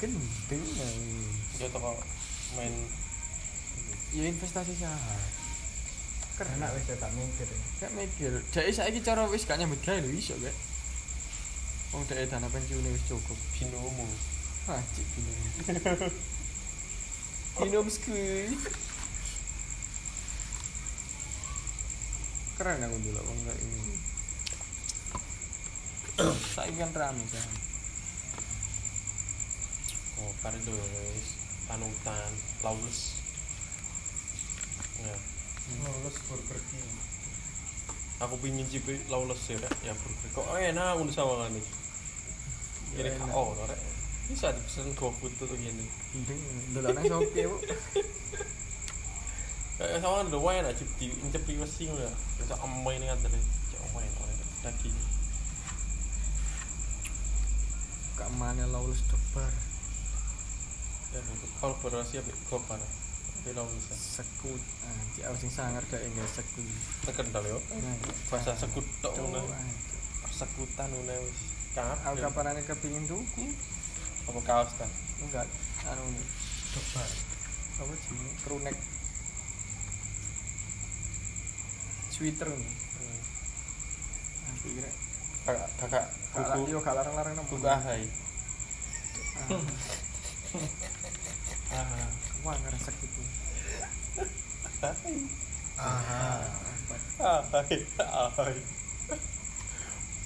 Speaker 2: Gendeng. ay.
Speaker 4: ya
Speaker 7: Iya,
Speaker 4: toko main
Speaker 2: Ya investasi saham.
Speaker 7: Enak wis tak mikir.
Speaker 2: Gak mikir. Dek saiki cara wis gak nyambut gawe lho iso gak. Wong dek dana pensiune wis cukup.
Speaker 4: binomo
Speaker 2: Hah, cik binum. binum skuy. Keren aku dulu wong kayak ini. Saiki kan rame kan.
Speaker 4: oh parido wis panutan lawless ya
Speaker 7: Lulus Burger King.
Speaker 4: oh, aku pingin cipi lawless ya Rek. ya burger kok enak udah sama kan nih ini gak ono rek. Bisa dipesen GoFood tuh gini.
Speaker 2: Delok nang Shopee, Bu.
Speaker 4: Eh, sama ada wae nak cip di incep di wesi ngono ya. Bisa amai ini kan tadi. Cek amai oleh daging.
Speaker 2: Kak mana lawless debar
Speaker 4: Dan untuk kolaborasi ambek Gopar. ya. Tapi lo bisa
Speaker 2: sekut. Ah, cik aku sing sangar gak enggak sekut.
Speaker 4: terkendal yo.
Speaker 2: Nah,
Speaker 4: Bahasa sekut tok
Speaker 2: cowok,
Speaker 4: ngono.
Speaker 2: ah.
Speaker 4: Persekutan ngono wis. Kabeh.
Speaker 2: Aku kapanane kepingin tuku
Speaker 4: apa kaos kan?
Speaker 2: enggak anu debar. Apa jenenge? Kerunek. Sweater nih. Aku kira
Speaker 4: Kakak kakak
Speaker 2: Buku
Speaker 4: buku
Speaker 2: yo gak larang-larang nang
Speaker 4: buku ahai. Ah.
Speaker 2: Wah, ngerasa gitu.
Speaker 4: Ahai. Ahai.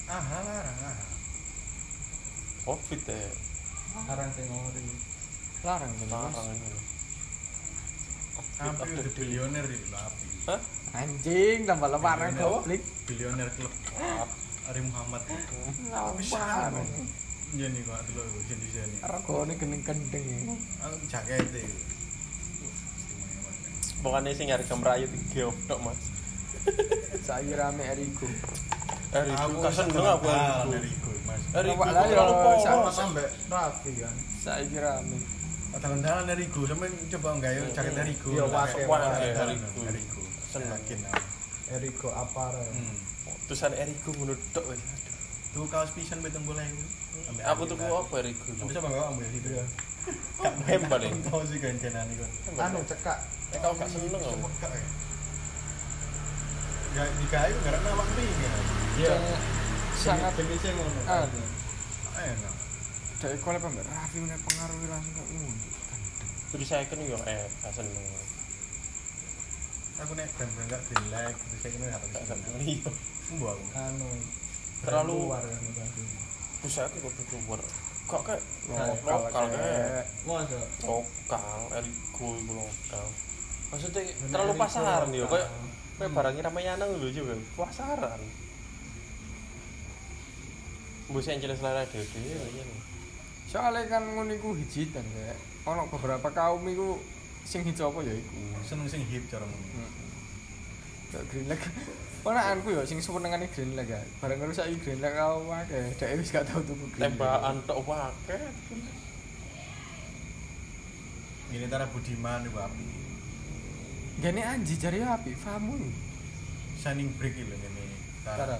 Speaker 7: Ah, larang. ah.
Speaker 4: Covid ya.
Speaker 7: Larang sing ori.
Speaker 2: Larang
Speaker 7: Ah,
Speaker 2: sih, Mas.
Speaker 4: Larang ini.
Speaker 7: Sampai udah bilioner di lapi.
Speaker 4: Hah?
Speaker 2: Anjing, tambah lebaran
Speaker 7: Bilioner.
Speaker 2: goblok.
Speaker 7: Bilioner klub. Ari Muhammad.
Speaker 2: Lebaran.
Speaker 7: Jadi kok dulu jadi jadi.
Speaker 2: Regane gendeng-gendeng. ya.
Speaker 7: Aku jaket itu.
Speaker 4: Bukannya sih harga merayu di geop tok mas
Speaker 2: Saiki rame Erigo.
Speaker 4: Hari itu kasen dong aku
Speaker 7: kan kenal
Speaker 4: hari
Speaker 7: dari
Speaker 4: itu
Speaker 7: gue mas.
Speaker 4: Hari itu
Speaker 2: Bapak
Speaker 4: aku
Speaker 2: lah,
Speaker 4: terlalu
Speaker 2: ya,
Speaker 4: polos
Speaker 2: sama.
Speaker 7: Sama sampai rapi kan.
Speaker 2: Saiki rame.
Speaker 7: Dalan-dalan dari gue, sampe coba enggak ya jaket dari gue.
Speaker 2: Iya, pakai,
Speaker 4: pakai.
Speaker 7: dari gue.
Speaker 4: Seneng.
Speaker 2: Iya.
Speaker 7: Yakin aku.
Speaker 2: Erigo aparel.
Speaker 7: Hmm.
Speaker 4: Tulisan Eriku menurut tok wes Aduh.
Speaker 7: Tuh kaos pisan beteng bola itu. Sampai
Speaker 4: Aku
Speaker 7: akhir
Speaker 4: tuh
Speaker 7: lah.
Speaker 4: apa Eriku
Speaker 7: Sampai coba enggak ambil itu ya.
Speaker 4: Hem paling
Speaker 7: Kaos sih gancenan itu.
Speaker 4: Anu
Speaker 7: cekak.
Speaker 4: Eh kau gak seneng aku
Speaker 7: Gak dikayu gara nawak nih kan.
Speaker 2: Iya. Sangat
Speaker 7: jenisnya ngono.
Speaker 2: ah,
Speaker 7: Enak.
Speaker 2: dari kau apa mbak Raffi punya pengaruh langsung ke Uni.
Speaker 4: Terus saya kan yo eh gak seneng
Speaker 7: Aku nek ben enggak jelek, terus saya kena harus
Speaker 4: Gak seneng Iya
Speaker 7: Mbu aku.
Speaker 2: Anu.
Speaker 4: Terlalu
Speaker 7: kan
Speaker 4: Terus saya kok butuh war Kok kayak
Speaker 2: Lokal
Speaker 4: Lokal kayak
Speaker 2: kayak.
Speaker 4: Lokal Eriku itu lokal Maksudnya terlalu pasaran yo Kayak Kayak barangnya Ramayana dulu juga kan. Pasaran Bu saya jelas selera dhewe iya.
Speaker 2: Soalnya kan Uni ku hijitan kayak. Ono beberapa kaum iku sing hijau apa ya iku.
Speaker 7: Seneng sing hip cara
Speaker 2: Hmm.
Speaker 7: ngono.
Speaker 2: Kayak Green Lag. Ono anku ya sing senengane Green Lag ya. Bareng karo saiki Green Lag kau akeh. Dek wis gak tau tuku Green Lag.
Speaker 4: Tembakan tok wae
Speaker 7: Ini tara Budiman iku api.
Speaker 2: Gini anji cari api, famu.
Speaker 7: Shining break iki lho ngene. Tara.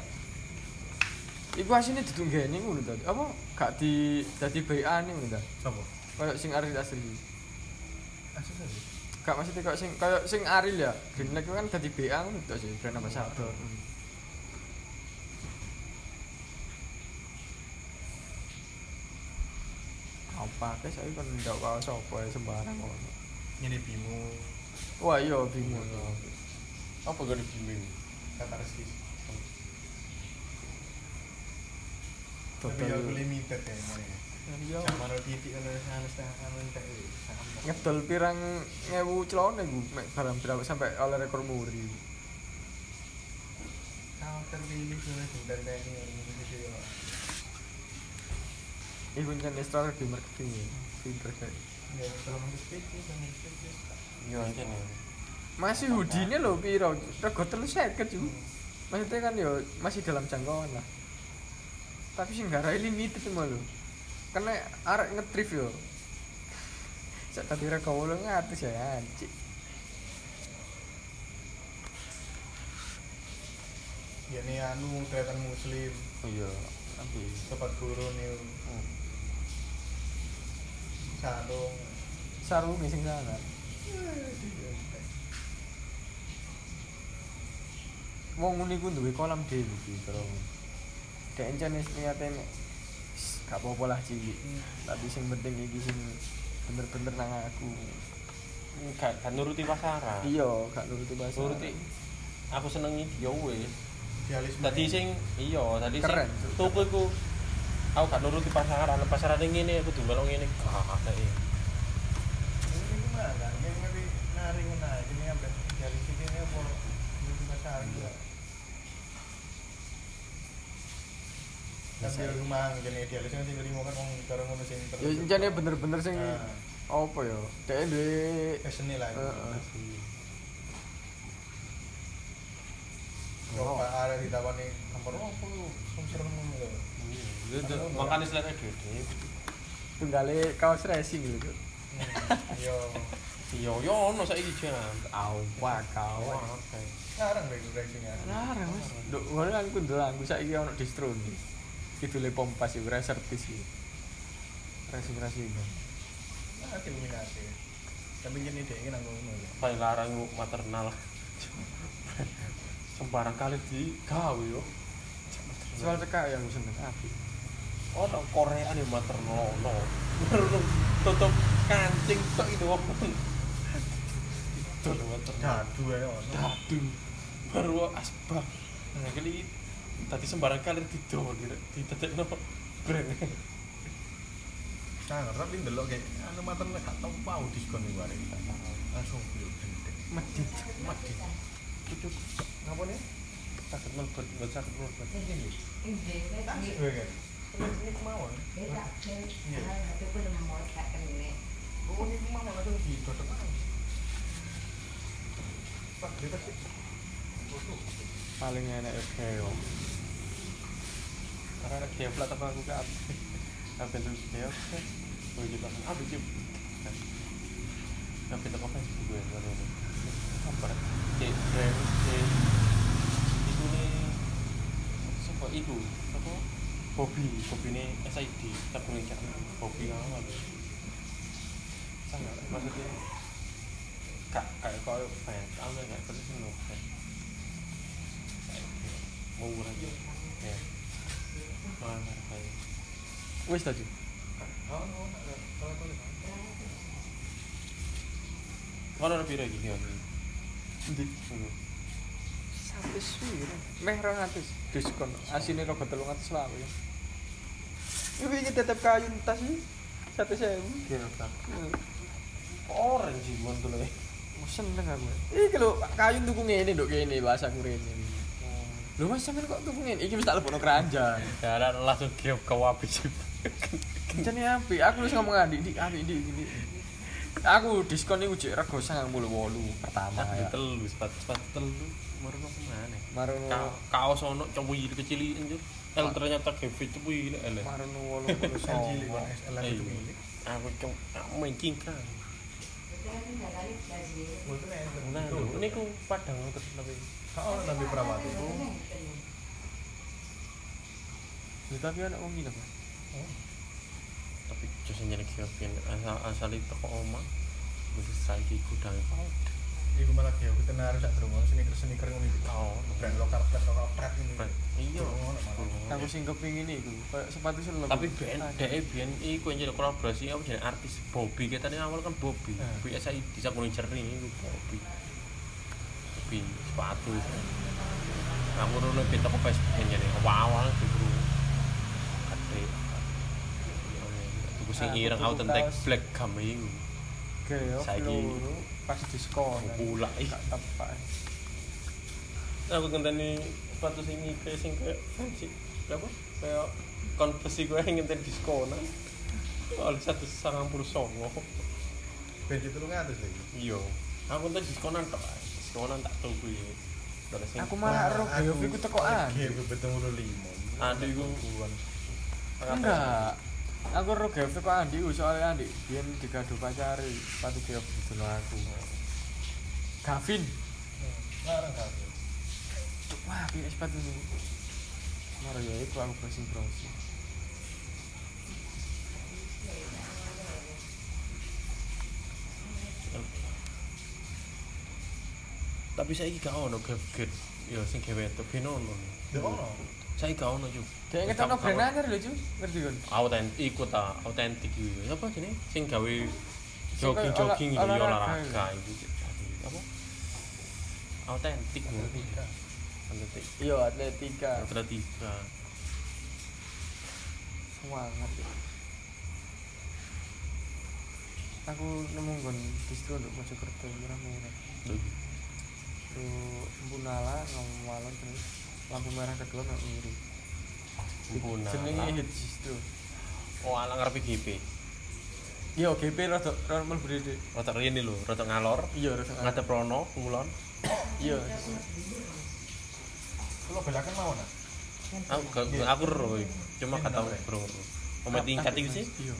Speaker 2: Iku aslinya ditunggeni ngono tadi. Apa gak di dadi bayane ngono ta.
Speaker 7: Sopo?
Speaker 2: Kayak sing Aril asli.
Speaker 7: Asus asus.
Speaker 2: Gak maksudnya kayak sing kayak sing Aril ya. Green Lake kan dadi BA ngono ta sih, brand ambassador. Hmm. Apa ke saya kan ndak kau sapa ya sembarang kok.
Speaker 7: Ngene bimu
Speaker 2: Wah iya bingung.
Speaker 4: Apa gak dibimbing?
Speaker 7: katarsis. Tapi ya aku
Speaker 2: Total.
Speaker 7: limited ya ngene.
Speaker 2: Iya.
Speaker 7: Sama roti titik ono sana setengah kanan tak eh, sama.
Speaker 2: Ngedol pirang ngewu celone ku mek barang berapa sampai oleh rekor muri.
Speaker 7: Kau terpilih sudah sudah dari ini.
Speaker 2: Iku jenis strategi marketing ya. Pinter kayak.
Speaker 7: Ya, kalau mau speech, sama speech.
Speaker 4: Iya aja nih.
Speaker 2: Masih hoodie-nya lho piro? Rego telu seket cu. Maksudnya kan yo masih dalam jangkauan lah. Tapi sing garai limited semua lho. Karena arek ngetrif yo. Sak tadi rego wolu ngatus ya anjing.
Speaker 7: Ya ini anu kelihatan muslim,
Speaker 4: Iya. Tapi
Speaker 7: sobat guru nih.
Speaker 2: Oh.
Speaker 7: Sarung.
Speaker 2: Sarunge sing sangar. Wong ngene ku duwe kolam dhewe iki, Bro. Dek encen wis niate nek "Ss, gak apa-apa lah cilik. Tapi sing penting iki sing bener-bener nang aku.
Speaker 4: gak gak nuruti pasaran.
Speaker 2: Iya, gak nuruti bahasa.
Speaker 4: Nuruti. Aku senengi ya wis.
Speaker 7: Idealisme.
Speaker 4: Tadi sing iya, tadi sing
Speaker 2: Keren.
Speaker 4: tuku iku aku gak nuruti pasaran. Pasaran ngene aku dumbelo ngene gak ada. eh.
Speaker 7: Ini gimana? Ini tapi nari mana? Ini apa? Dari sini ini apa? Ini juga sarung juga. Tapi rumah jadi idealisnya sih terima kan wong karo ngono sing terus.
Speaker 2: ya jane bener-bener sing
Speaker 7: Ah,
Speaker 2: apa ya dhek duwe
Speaker 7: fashion lah.
Speaker 2: Heeh.
Speaker 7: Kalau Pak ada di taman nih, nomor apa lu? Sung serem ngono lho.
Speaker 4: Makanya selain duit
Speaker 2: tunggale kaos racing gitu
Speaker 7: Hmm, Yo,
Speaker 4: Iya, yo ono saiki jan.
Speaker 2: Awa kawan.
Speaker 7: sekarang dari racing ya.
Speaker 2: Larang wis. Nduk ngono kan ku ndelok aku saiki ono distro iki. Kidule pompas iku ora servis iki. Racing-racing.
Speaker 7: Nah, Illuminati. Tapi gini deh, ini nanggung ngono lho.
Speaker 4: Paling larang yuk maternal. Sembarang kali di gawe yo.
Speaker 2: Soal cekak yang seneng api.
Speaker 4: Ono Koreaan yo maternal ono. Merung tutup kancing tok itu wong. Tutup maternal.
Speaker 7: Dadu ae ono.
Speaker 4: Aduh. Baru asbak. Nah, kali tadi sembarang kali didol di tetekno brand.
Speaker 7: Nah, tapi ndelok kayak anu mater nek gak tau pau diskon iku arek. Langsung beli gendeng.
Speaker 4: Medit.
Speaker 7: Medit.
Speaker 4: Cucuk.
Speaker 7: Ngapa nih?
Speaker 4: Sakit melebet, buat sakit melebet.
Speaker 7: Gue kan. Terus Ini kemauan. Oh, ini kemauan langsung didodok aja. Pak, dia pasti.
Speaker 2: Paling enak ya keo.
Speaker 4: karena geblak tapi aku gak apa lu dia oke gue gitu kan aduh cip tapi tak apa sih gue baru ini apa cek brand cek itu nih siapa itu apa Bobby Bobby ini SID tapi nih kan Bobby nama tuh sangat maksudnya kak kayak kau kayak kamu kayak terus sih loh mau lagi ya mana kayak
Speaker 2: Wis tadi.
Speaker 4: Kalau lebih lagi nih,
Speaker 2: Endi? Satu sih. Meh 200 diskon. Asine rego 300 wae. Iki iki tetep kayu tas iki. Satu sewu.
Speaker 4: kira tak orang sih bukan tuh lagi.
Speaker 2: Seneng aku. Iki lho kayu tuku ngene nduk kene bahasa ngene. Lho Mas sampean kok tuku ngene? Iki wis tak lebono keranjang.
Speaker 4: Jalan langsung kira kau apa sih?
Speaker 2: Kencane api, aku wis ngomong adik, dik, adik, dik, gini. Aku diskon iku jek rego 98 pertama
Speaker 7: Ah,
Speaker 2: ya.
Speaker 4: Telu, sepatu sepatu telu. Baru mau kemana?
Speaker 2: Marono
Speaker 4: Ka- Kaos ono cowok jadi kecil anjir. El ternyata kevin itu ini el.
Speaker 2: marono 89.
Speaker 7: Yang cilik, Pak. SL lagi
Speaker 4: Iya.
Speaker 7: tuh milik.
Speaker 4: Aku cuma aku main cingkrang.
Speaker 7: Gue tuh nek-
Speaker 4: Nah, lho, ini ku padang aku tapi
Speaker 7: Kau orang nabi perawat itu.
Speaker 2: Lho, Tapi ana wong nginep.
Speaker 4: tapi justru jadi kevin asal asal itu kok oma. Bisa saya gudang.
Speaker 7: Iku malah dia aku tenar sak drumon sneaker sneaker ngono iki.
Speaker 4: Oh,
Speaker 7: Brand lokal brand lokal brand ini.
Speaker 4: iya.
Speaker 7: Ngono malah.
Speaker 2: Aku sing kepingin iku, kayak sepatu selem.
Speaker 4: tapi Ben, DE Ben iku yang jadi kolaborasi apa jadi artis Bobby kita ini awal kan Bobby
Speaker 7: Eh.
Speaker 4: biasa bisa kuning jernih itu Bobby Bobby sepatu aku dulu lebih toko Facebook yang jadi awal itu bro kade aku sing
Speaker 2: Aku
Speaker 4: ireng
Speaker 2: tuku
Speaker 4: authentic
Speaker 2: kaos.
Speaker 4: black gum itu
Speaker 2: Geo
Speaker 4: saiki-
Speaker 2: loro pas diskon.
Speaker 4: Pula, ih.
Speaker 2: Gak tepak.
Speaker 4: aku ngenteni sepatu sing kayak sing kayak fancy apa kayak konversi gue yang ngenteni diskonan oleh satu sangat puluh songo
Speaker 7: Benci telung atus lagi.
Speaker 4: iya aku ntar diskonan tok Ay. diskonan tak tunggu ya terus
Speaker 2: ya,
Speaker 4: yang
Speaker 2: Aku malah ro Geo iku teko an.
Speaker 7: Iya, gue bertemu lu lima.
Speaker 4: Andi ku
Speaker 2: Enggak. Aku ro Geo teko Andi ku, soalnya Andi biyen digaduh pacari, sepatu Geo didono aku. Gavin,
Speaker 7: Larang kau.
Speaker 2: Cuk, wah piye sepatu ini. Moro ya iku aku browsing browsing.
Speaker 4: tapi saya gak ono gap gap ya sing gawe itu beno ono
Speaker 7: Ya ono.
Speaker 4: saya gak ono juga
Speaker 2: Dek ngetono brand anyar lho, Cuk. Ngerti kon?
Speaker 4: autentik ikut ta autentik gitu apa sini sing gawe jogging
Speaker 2: kayak
Speaker 4: jogging gitu
Speaker 2: olah-
Speaker 4: ya
Speaker 2: olahraga
Speaker 4: olahraga itu apa autentik gitu autentik
Speaker 2: Iya, Atletica.
Speaker 4: atletika
Speaker 2: semangat ya. aku nemu gon distro untuk Mojokerto murah murah lu Mbunala ngomong walon terus lampu merah kedua nggak miring
Speaker 4: Punah.
Speaker 2: Jenenge hits itu.
Speaker 4: Oh, ala ngarepe GP.
Speaker 2: Iya, GP rada rada mlebu dhewe.
Speaker 4: Rotok ini lho, rotok ngalor.
Speaker 2: Iya, rada.
Speaker 4: Ngadep rono, ngulon.
Speaker 2: Iya.
Speaker 7: Kalau belakang mau nak?
Speaker 4: Aku gak- aku ro, cuma gak tau bro. Omet tingkat iki sih.
Speaker 2: Iya.